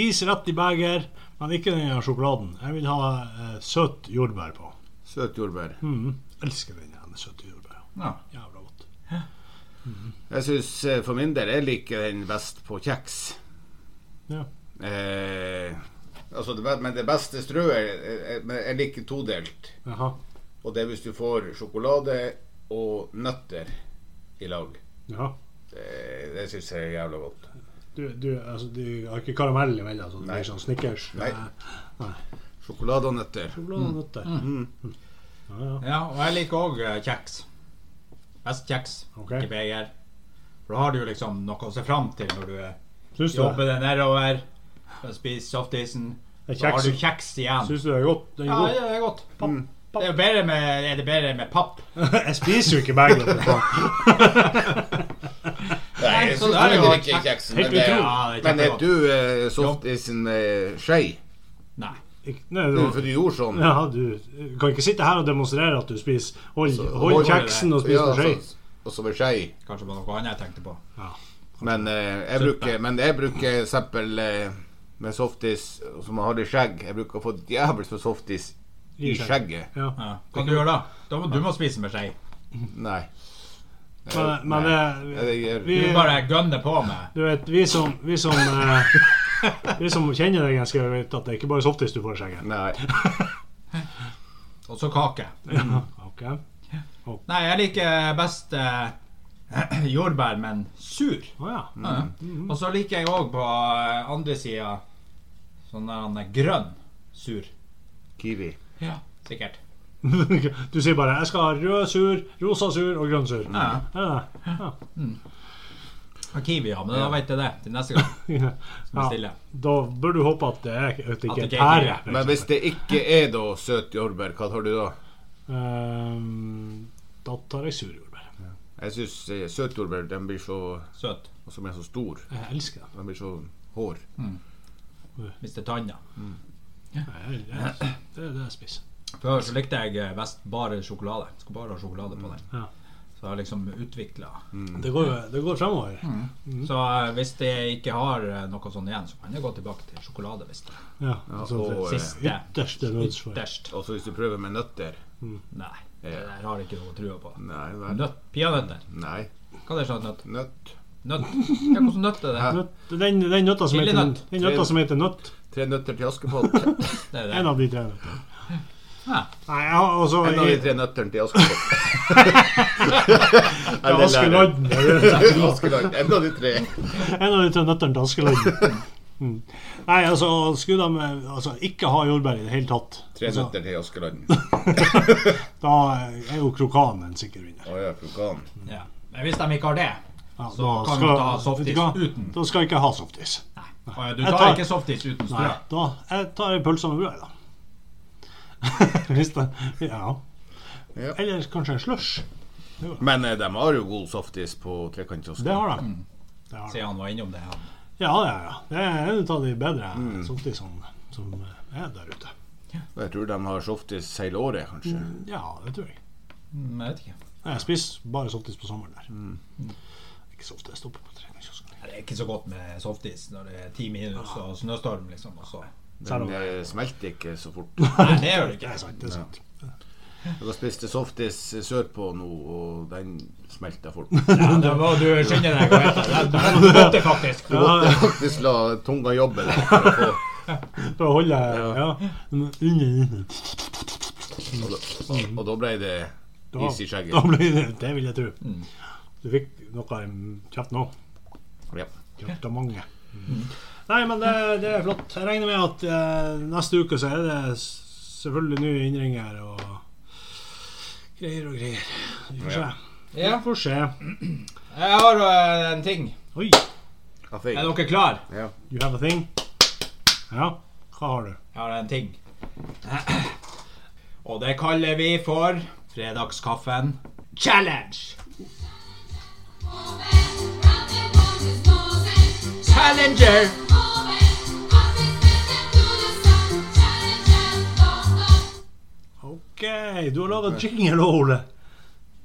S2: Is rett i beger, men ikke den her sjokoladen. Jeg vil ha eh, søt jordbær på.
S3: Søt jordbær.
S2: Mm. Elsker den her med søte jordbær.
S1: Ja.
S2: Jævla godt.
S3: Jeg syns for min del jeg liker den best på kjeks.
S2: Ja.
S3: Eh, altså det, be- men det beste strøet eh, eh, men Jeg liker todelt.
S2: Jaha.
S3: Og det er hvis du får sjokolade og nøtter i lag.
S2: Jaha.
S3: Det, det syns jeg er jævla godt.
S2: Du, du, altså, du har ikke karamell imellom? Så det
S3: Nei.
S2: blir sånn Snickers?
S3: Nei.
S2: Eh,
S3: Sjokolade og nøtter.
S1: Mm.
S2: Sjokolade og nøtter. Ja, ja.
S1: ja, og jeg liker òg kjeks. Best kjeks,
S2: Ok.
S1: ikke beger. For da har du jo liksom noe å se fram til når du er-
S2: Syns du,
S1: jobber deg nedover. skal Spise softisen.
S2: Det er
S1: Så har
S2: kjeks.
S1: du kjeks igjen.
S2: syns du det er godt? Den er
S1: Ja,
S2: god.
S1: det er godt. Papp. Papp. Det er, jo bedre med, er det bedre med papp?
S2: Jeg spiser jo ikke begge. for faen.
S3: Nei, jeg
S1: så
S3: syns
S1: der er
S3: du
S1: jo
S3: liker
S1: kjeks.
S3: kjeksen.
S2: Helt
S3: Men, det-
S2: utrolig.
S1: Ja, det er
S3: men er
S1: kjempegodt.
S3: du eh, softisen med eh, skje?
S1: Nei.
S2: Ikke- Nei,
S3: Du, For
S2: du,
S3: du gjorde sånn.
S2: ja, du kan ikke sitte her og demonstrere at du spiser. Hold, hold
S3: hold-
S2: kjeksen og spis
S3: Ja,
S2: med skje.
S3: så- Og så med skje.
S1: Kanskje det var noe annet jeg tenkte på.
S3: Men, eh, jeg
S1: Suppe.
S3: bruker, men jeg bruker eksempel eh, med softis som har i skjegg. Jeg bruker å få djevelsk med softis i
S2: I skjegget.
S3: skjegget.
S2: Ja.
S1: Ja. Hva kan du gjøre da? da må, du må spise med skje.
S3: Nei. Eh,
S2: Men, men
S3: Nei, det
S2: det,
S3: gjør-
S1: Du
S2: vi,
S1: bare gønner på med.
S2: Du vet, vi som Vi som, eh, vi som kjenner deg ganske godt, vet at det er ikke bare softis du får i skjegget.
S3: Nei.
S1: Og så kake.
S2: Ok.
S1: Nei, jeg liker best eh, jordbær, men sur.
S2: Å ja.
S1: Ja, ja. Og så liker jeg òg på eh, andre sida sånn der han er grønn sur.
S3: Kiwi.
S1: Ja, sikkert.
S2: Du sier bare 'jeg skal ha rød sur, rosa sur og grønn sur'.
S1: Ja.
S2: Er det det? Ja.
S1: Og Kiwi, ja. Men da vet jeg det til neste gang. Skal bestille.
S2: Da bør du håpe at det, er, at det
S1: At det
S2: ikke er
S1: ikke er
S2: pære.
S3: Men
S2: for eksempel.
S3: hvis det ikke er da søt jordbær, hva tar du da?
S2: Ehm, Da tar jeg sur jordbær.
S3: Jeg syns eh, søt jordbær den blir så
S1: Søt.
S3: og Som er så stor.
S2: Jeg elsker det.
S3: Den blir så hår.
S1: Hvis det er tanna.
S2: Jeg, jeg, det er det jeg spiser.
S1: Før så likte jeg eh, best bare sjokolade. Skal bare ha sjokolade på den.
S2: Ja.
S1: Så jeg har liksom utvikla.
S3: Mm.
S2: Det går, det går fremover. Mhm.
S1: Så eh, hvis jeg ikke har eh, noe sånn igjen, så kan jeg gå tilbake til sjokolade. Hvis det er
S2: Ja, altså,
S3: og,
S2: det
S3: eh,
S1: siste.
S2: ytterste nødsfall.
S1: Ytterst.
S3: Og så hvis du prøver med nøtter
S1: Nei, det der har jeg ikke noe trua på.
S3: Nei vel.
S1: Nøtt. Peanøtter.
S3: Nei.
S1: Hva er det slags nøtt?
S3: Nøtt.
S1: Nøtt? Ja, hvordan nøtt er det?
S2: Nøtt- Den, den nøtta som heter,
S1: Lillenøtt.
S2: den nøtta som heter nøtt,
S3: Tre nøtter til Askepott.
S1: Det
S2: en
S1: er det.
S2: av de tre nøttene.
S1: Ja.
S2: Nei, jeg har også
S3: En av de tre nøttene til Askepott.
S2: Ja,
S3: Eller lærer.
S2: Askeladden. eller-
S3: Askeladden. En av de tre.
S2: En av de tre nøttene til Askeladden. Mm. Nei, altså, skulle de eh, altså, ikke ha jordbær i det hele tatt,
S3: Tre
S2: altså,
S3: nøtter til Askeladden.
S2: da er jo krokan en sikker vinner.
S3: Å ja, krokan.
S1: Ja. Men hvis de ikke har det
S2: Ja,
S1: Så kan du ta softis
S2: vet du hva?
S1: uten.
S2: Da skal jeg ikke ha softis.
S1: Nei. Og Du
S2: Jeg
S1: tar
S2: tar-
S1: ikke softis uten strø.
S2: Nei, da jeg tar jeg pølse med brød, da. Hvis det Ja.
S3: Ja.
S2: Eller kanskje en slush.
S3: Men eh, de har jo god softis på
S2: Det
S3: trekantkiosken.
S2: har de.
S1: Mm.
S2: Det har de.
S1: Siden han var innom det. Han.
S2: Ja, ja, ja. Det er en av de bedre
S3: Mm.
S2: softisene som eh, er der ute.
S3: Jeg tror de har softis hele året, kanskje.
S2: Ja, det tror jeg.
S1: Mm, Jeg vet ikke.
S2: Nei, Jeg spiser bare softis på sommeren der.
S3: Mm.
S2: Ikke så ofte jeg stopper på treningskiosken.
S1: Det er ikke så godt med softis når det er ti minus og snøstorm, liksom. Og så
S3: Den eh, smelter ikke så fort.
S1: Nei, det gjør det
S2: Det er
S1: ikke.
S2: sant. det er sant
S3: Jeg har spist softis sørpå nå, og den smelter fort.
S1: Ja, da må du skynde deg å ete. Det- Du måtte faktisk.
S3: Du måtte faktisk la tunga jobbe litt for å få
S2: Da holder jeg ja. Under, under.
S3: Og da, og, og da ble det
S2: Da,
S3: is i
S2: da
S3: skjegget.
S2: ble det Det vil jeg tro. Du fikk noe i kjeften òg.
S3: Ja.
S2: Kjøpt av mange. Nei, men det, det er flott. Jeg regner med at eh, neste uke så er det s- selvfølgelig nye innringer og greier og greier. Vi får se. Vi
S1: Ja,
S2: får se.
S1: jeg har eh, en ting.
S2: Oi,
S3: Jeg fikk-
S1: Er dere klar?
S3: Ja.
S2: you have a thing? Ja, hva har du?
S1: Jeg har en ting. Og det kaller vi for fredagskaffen challenge. Challenger!
S2: OK, du har laga jingle, Ole.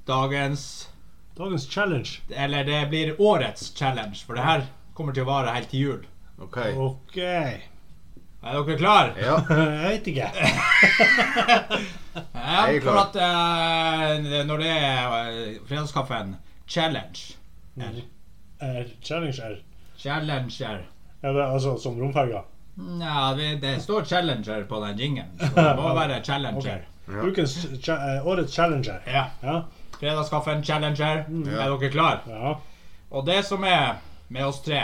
S1: Dagens
S2: Dagens challenge.
S1: Eller det blir årets challenge, for det her kommer til å vare helt til jul.
S3: Ok.
S2: OK. Jeg
S1: Er dere klare?
S3: Ja.
S2: vet ikke.
S1: Ja,
S3: Jeg er klar.
S1: for at eh, når det er eh, fredagskaffen challenge er
S2: Er Eh, challenger
S1: Challenger
S2: er det altså som romferga?
S1: Nja, det det står challenger på den jingen, så det må være challenger.
S3: Ja.
S2: Ukens cha- eh, årets challenger.
S1: Ja.
S2: Ja.
S1: Fredagskaffen challenger.
S3: Mm. Ja.
S1: Er dere klare?
S2: ja.
S1: Og det som er med oss tre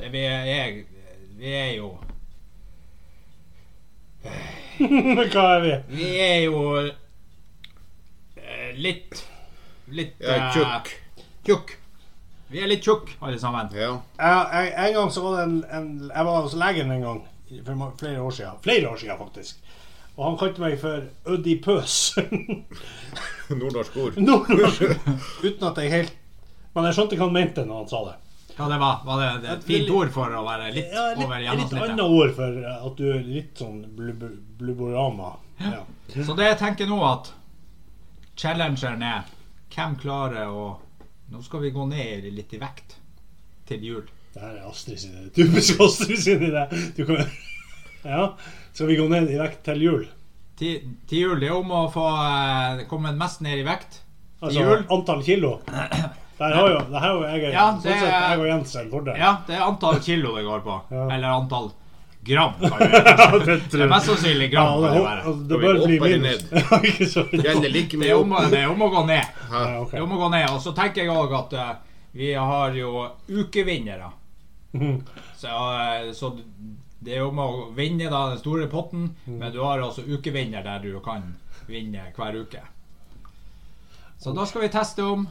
S1: det vi, er, vi er jo
S2: Hva er vi?
S1: Vi er jo eh, litt Litt
S3: Ja,
S1: eh,
S3: tjukk.
S1: tjukk. Vi er litt tjukk, alle sammen.
S3: ja.
S2: jeg, jeg, en gang så var det en, en Jeg var hos legen en gang for ma- flere år siden. Flere år siden, faktisk. Og han kalte meg for Ødipøs.
S3: Nordnorsk ord.
S2: Nordnorsk. Uten at jeg helt Men jeg skjønte hva han mente når han sa det.
S1: Hva det var, var det det er et fint ord for å være litt
S2: Ja, litt,
S1: over
S2: litt annet
S1: gjennomsnittet?
S2: ord for at du er litt sånn blubber- blubberama. Ja.
S1: Så det jeg tenker nå, at challengeren er hvem klarer å Nå skal vi gå ned litt i vekt til jul.
S2: Det her er Astrid sin idé. Typisk Astrid sin idé. Du kan, ja. Skal vi gå ned i vekt til jul?
S1: Til, til jul det er om å få eh, komme mest ned i vekt.
S2: Altså
S1: Jul?
S2: antall kilo? Det her har jo, det her har jo jeg,
S1: Ja,
S2: sånn
S1: det
S2: sett,
S1: er-
S2: jeg og Jens en fordel.
S1: Ja, det er antall kilo det går på.
S2: Ja.
S1: Eller antall gram. kan vi gjøre.
S2: Ja, det
S1: Det er mest sannsynlig
S2: Ja,
S1: gram. kan
S2: det,
S1: det,
S2: hå-
S1: være.
S2: altså,
S3: Da
S2: det
S3: vi
S2: bør bli
S3: hopper
S2: minus. Ja, ikke så
S3: Gjelder like
S1: det, er
S3: mye
S1: om, å-
S3: opp.
S1: det er om å gå ned.
S2: Ja, ok.
S1: Det er om å gå ned. Og så tenker jeg òg at eh, vi har jo ukevinnere.
S2: Mhm.
S1: Så, eh, så det er om å vinne da, den store potten,
S2: Mm.
S1: men du har altså ukevinner der du kan vinne hver uke. Så da skal vi teste om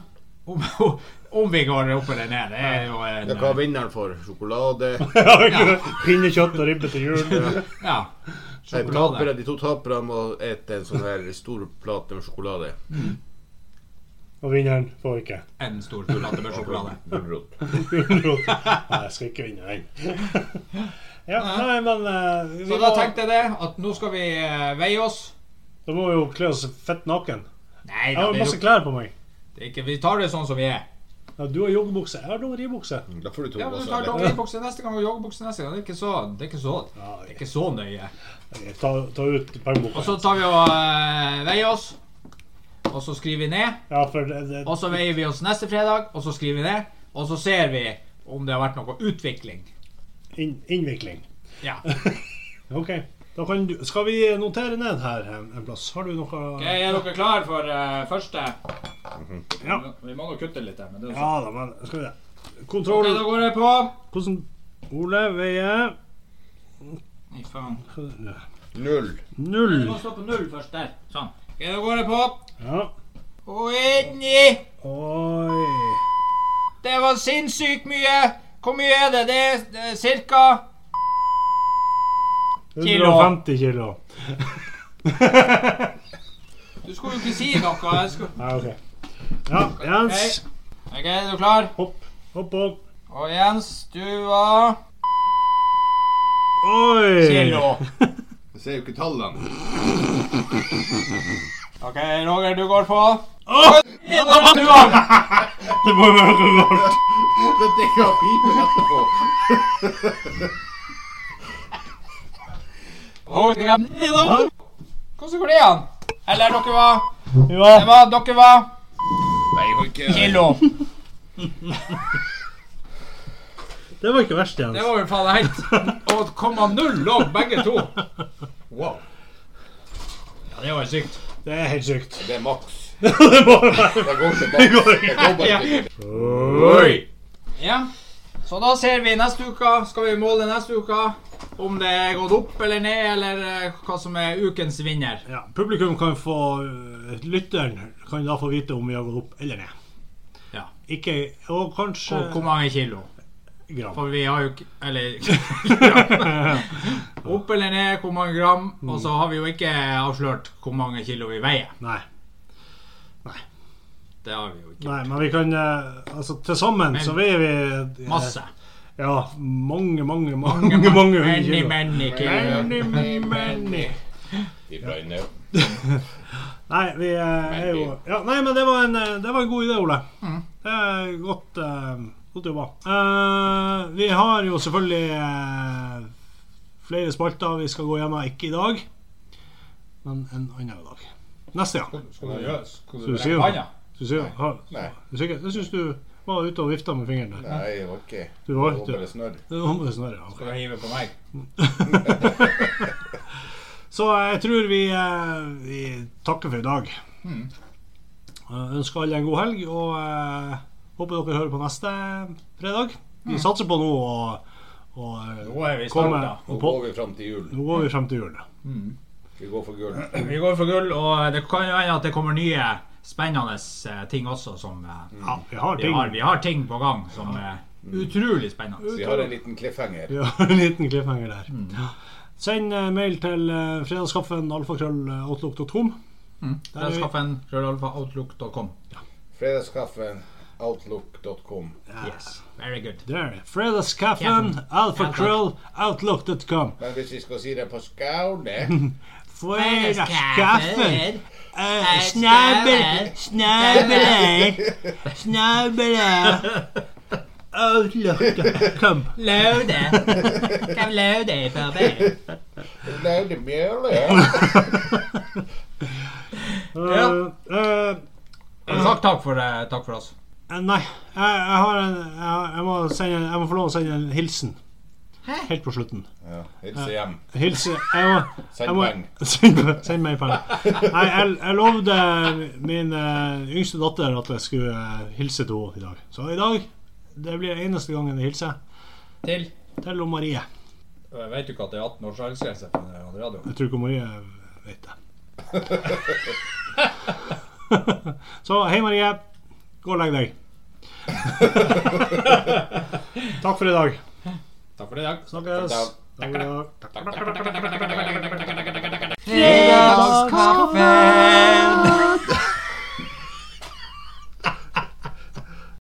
S1: om, om vi går opp eller ned. Det er jo en
S3: Ja, hva vinner han for? Sjokolade?
S2: Ja, ikke sant? Pinnekjøtt og ribbe til jul.
S1: ja,
S3: Nei,
S1: sjokolade.
S3: tapere, de to taperne må ete en sånn her stor plate med sjokolade.
S2: Og vinneren får ikke.
S1: En stor tullete med sjokolade.
S3: Gulrot.
S2: Gulrot. Nei, jeg skal ikke vinne den. Ja, nei, men eh, vi
S1: Så
S2: må,
S1: da tenkte jeg det, at nå skal vi eh, veie oss.
S2: da må vi jo kle oss fett naken.
S1: Nei
S2: Jeg
S1: da,
S2: har
S1: det er
S2: masse
S1: jo-
S2: klær på meg.
S1: det er ikke, vi tar det sånn som vi er.
S2: Ja, du har joggebukse. Jeg har dongeribukse.
S3: Mm, Da får du to
S1: Ja, men du
S3: også.
S1: tar
S3: eller?
S1: dongeribukse neste gang og joggebukse neste gang. Det er ikke så, det er ikke så, det er ikke så nøye.
S2: Ok, Ta, ta ut
S1: Og
S2: pengeboka.
S1: så tar vi og eh, veier oss. Og så skriver vi ned.
S2: Ja, for det, det,
S1: Og så veier vi oss neste fredag, og så skriver vi ned. Og så ser vi om det har vært noe utvikling.
S2: inn, innvikling.
S1: Ja.
S2: OK. Da kan du, skal vi notere ned her en, en plass? Har du noe
S1: Ok, Er dere klare for eh, første?
S2: Ja.
S1: Vi må nå kutte litt her, men det er jo
S2: Ja
S1: sånn.
S2: da, men skal vi se.
S1: Ok,
S2: Kontroll.
S1: da går jeg på.
S2: Hvordan Ole veier
S1: Nei, faen.
S3: Null.
S1: Vi
S2: null.
S1: må stå på null først der. Sånn. Ok, da går jeg på.
S2: Ja.
S1: Og inn i
S2: Oi.
S1: Det var sinnssykt mye. Hvor mye er det? Det er, det er cirka
S2: 150 kilo.
S1: Du skulle jo ikke si noe. Jeg skulle...
S2: Ja, ok. Ja, Jens.
S1: Ok, er du klar?
S2: Hopp, hopp, hopp.
S1: Og Jens, du var
S2: Oi.
S1: Kilo.
S3: Jeg ser jo ikke tallene.
S1: Ok, Roger, du går på. Du var-
S2: Det må jo være noe galt.
S3: Dette kan pipe etterpå.
S1: Hvordan går det an? Eller dere var
S2: Ja.
S1: det var- Dere var
S3: Nei, jeg har ikke
S1: kilo.
S2: Det var ikke verst, Jens.
S1: Det var vel faen helt Og komma null lå begge to. Wow. Ja, det var jo sykt.
S2: Det er helt sykt.
S3: Det er maks.
S2: Det må det
S3: Jeg
S2: være.
S3: går til maks. Jeg går bare til
S1: Oi. Ja. Så da ser vi neste uke. Skal vi måle neste uke om det er gått opp eller ned, eller eh, hva som er ukens vinner?
S2: Ja, publikum kan få øh, Lytteren kan da få vite om vi har gått opp eller ned.
S1: Ja.
S2: Ikke Og kanskje
S1: Og hvor mange kilo?
S2: gram.
S1: For vi har jo ikke Eller gram. Opp eller ned, hvor mange gram? Og så har vi jo ikke avslørt hvor mange kilo vi veier.
S2: Nei.
S1: Det har vi jo ikke.
S2: Nei, men vi kan øh, Altså, til sammen
S1: Men-
S2: så veier vi øh,
S1: Masse.
S2: Ja, mange, mange, mange mange, mange hundre
S1: Many,
S2: kilo.
S1: many kilo.
S2: Many, many, many.
S3: Vi brøyner.
S2: Nei, vi øh, er jo ja, Nei, men det var en, øh, det var en god idé, Ole.
S3: Mm.
S2: Det er godt, øh, godt jobba. Eh, vi har jo selvfølgelig eh, flere spalter vi skal gå gjennom. Ikke i dag, men en annen dag. Neste gang.
S1: Skal du gjøre
S2: du rekke sier- hånda? Du sier, har,
S3: Nei.
S2: du sier, jeg syns du var ute og vifta med fingeren der.
S3: Nei, jeg var ikke
S2: Du var
S3: Jeg var bare
S2: ute.
S3: snørr.
S2: Det var bare snarere, ja.
S1: Skal du hive på meg?
S2: Så jeg tror vi, eh, vi takker for i dag.
S1: Mm.
S2: Eh, Ønsker alle en god helg, og eh, håper dere hører på neste fredag. Vi satser på nå å å,
S1: Mm. Nå er vi
S2: eh, komme
S1: starta.
S2: og
S3: Nå
S2: på.
S3: går vi fram til jul.
S2: Nå går vi frem til jul.
S3: Vi går for gull.
S1: Vi går for gull, og eh, det kan jo hende at det kommer nye spennende eh, ting også som eh,
S2: Ja, vi har
S1: vi,
S2: ting.
S1: har, vi har ting på gang som er utrolig
S2: Mm.
S1: spennende.
S3: Vi har en liten cliffhanger.
S2: Vi har en liten cliffhanger der.
S1: Mm.
S2: Ja. Send eh, mail til eh, fredagskaffen eh, alfakrølloutlook.com.
S1: Der skal fan krøllalfa.outlook.com.
S3: Fredagskaffen outlook.com.
S1: Yes, very good.
S2: Der. Fredagskaffen alfakrølloutlook.com.
S3: Men hvis vi skal si det på Skaune
S2: Fredagskaffen Eh, Snabel Snabel Snabel Outlook.com
S1: Laude. Hva laude er for det?
S3: Lærde mjøle.
S1: Ja.
S2: Eh, eh,
S1: Takk, takk, for, eh, takk for oss.
S2: Nei, jeg, jeg har en jeg, har- jeg, må sende, jeg må få lov å sende en hilsen. Helt på slutten.
S3: Ja, hilse hjem.
S2: Hilse jeg må,
S3: Send
S2: jeg må,
S3: penger.
S2: send, send meg penger. Nei, jeg, jeg lovde min eh, yngste datter at jeg skulle eh, hilse til henne i dag. Så i dag det blir eneste gangen jeg hilser
S1: Til.
S2: til hun Marie.
S1: Jeg vet du ikke at det er 18 års aldersgrense på den radioen?
S2: Jeg tror ikke Marie vet det. Så hei, Marie. Gå og legg deg. Takk for i dag.
S1: Takk for i dag.
S2: Snakkes.
S3: Takk.
S2: Takk for i dag.
S1: Fredagskaffen.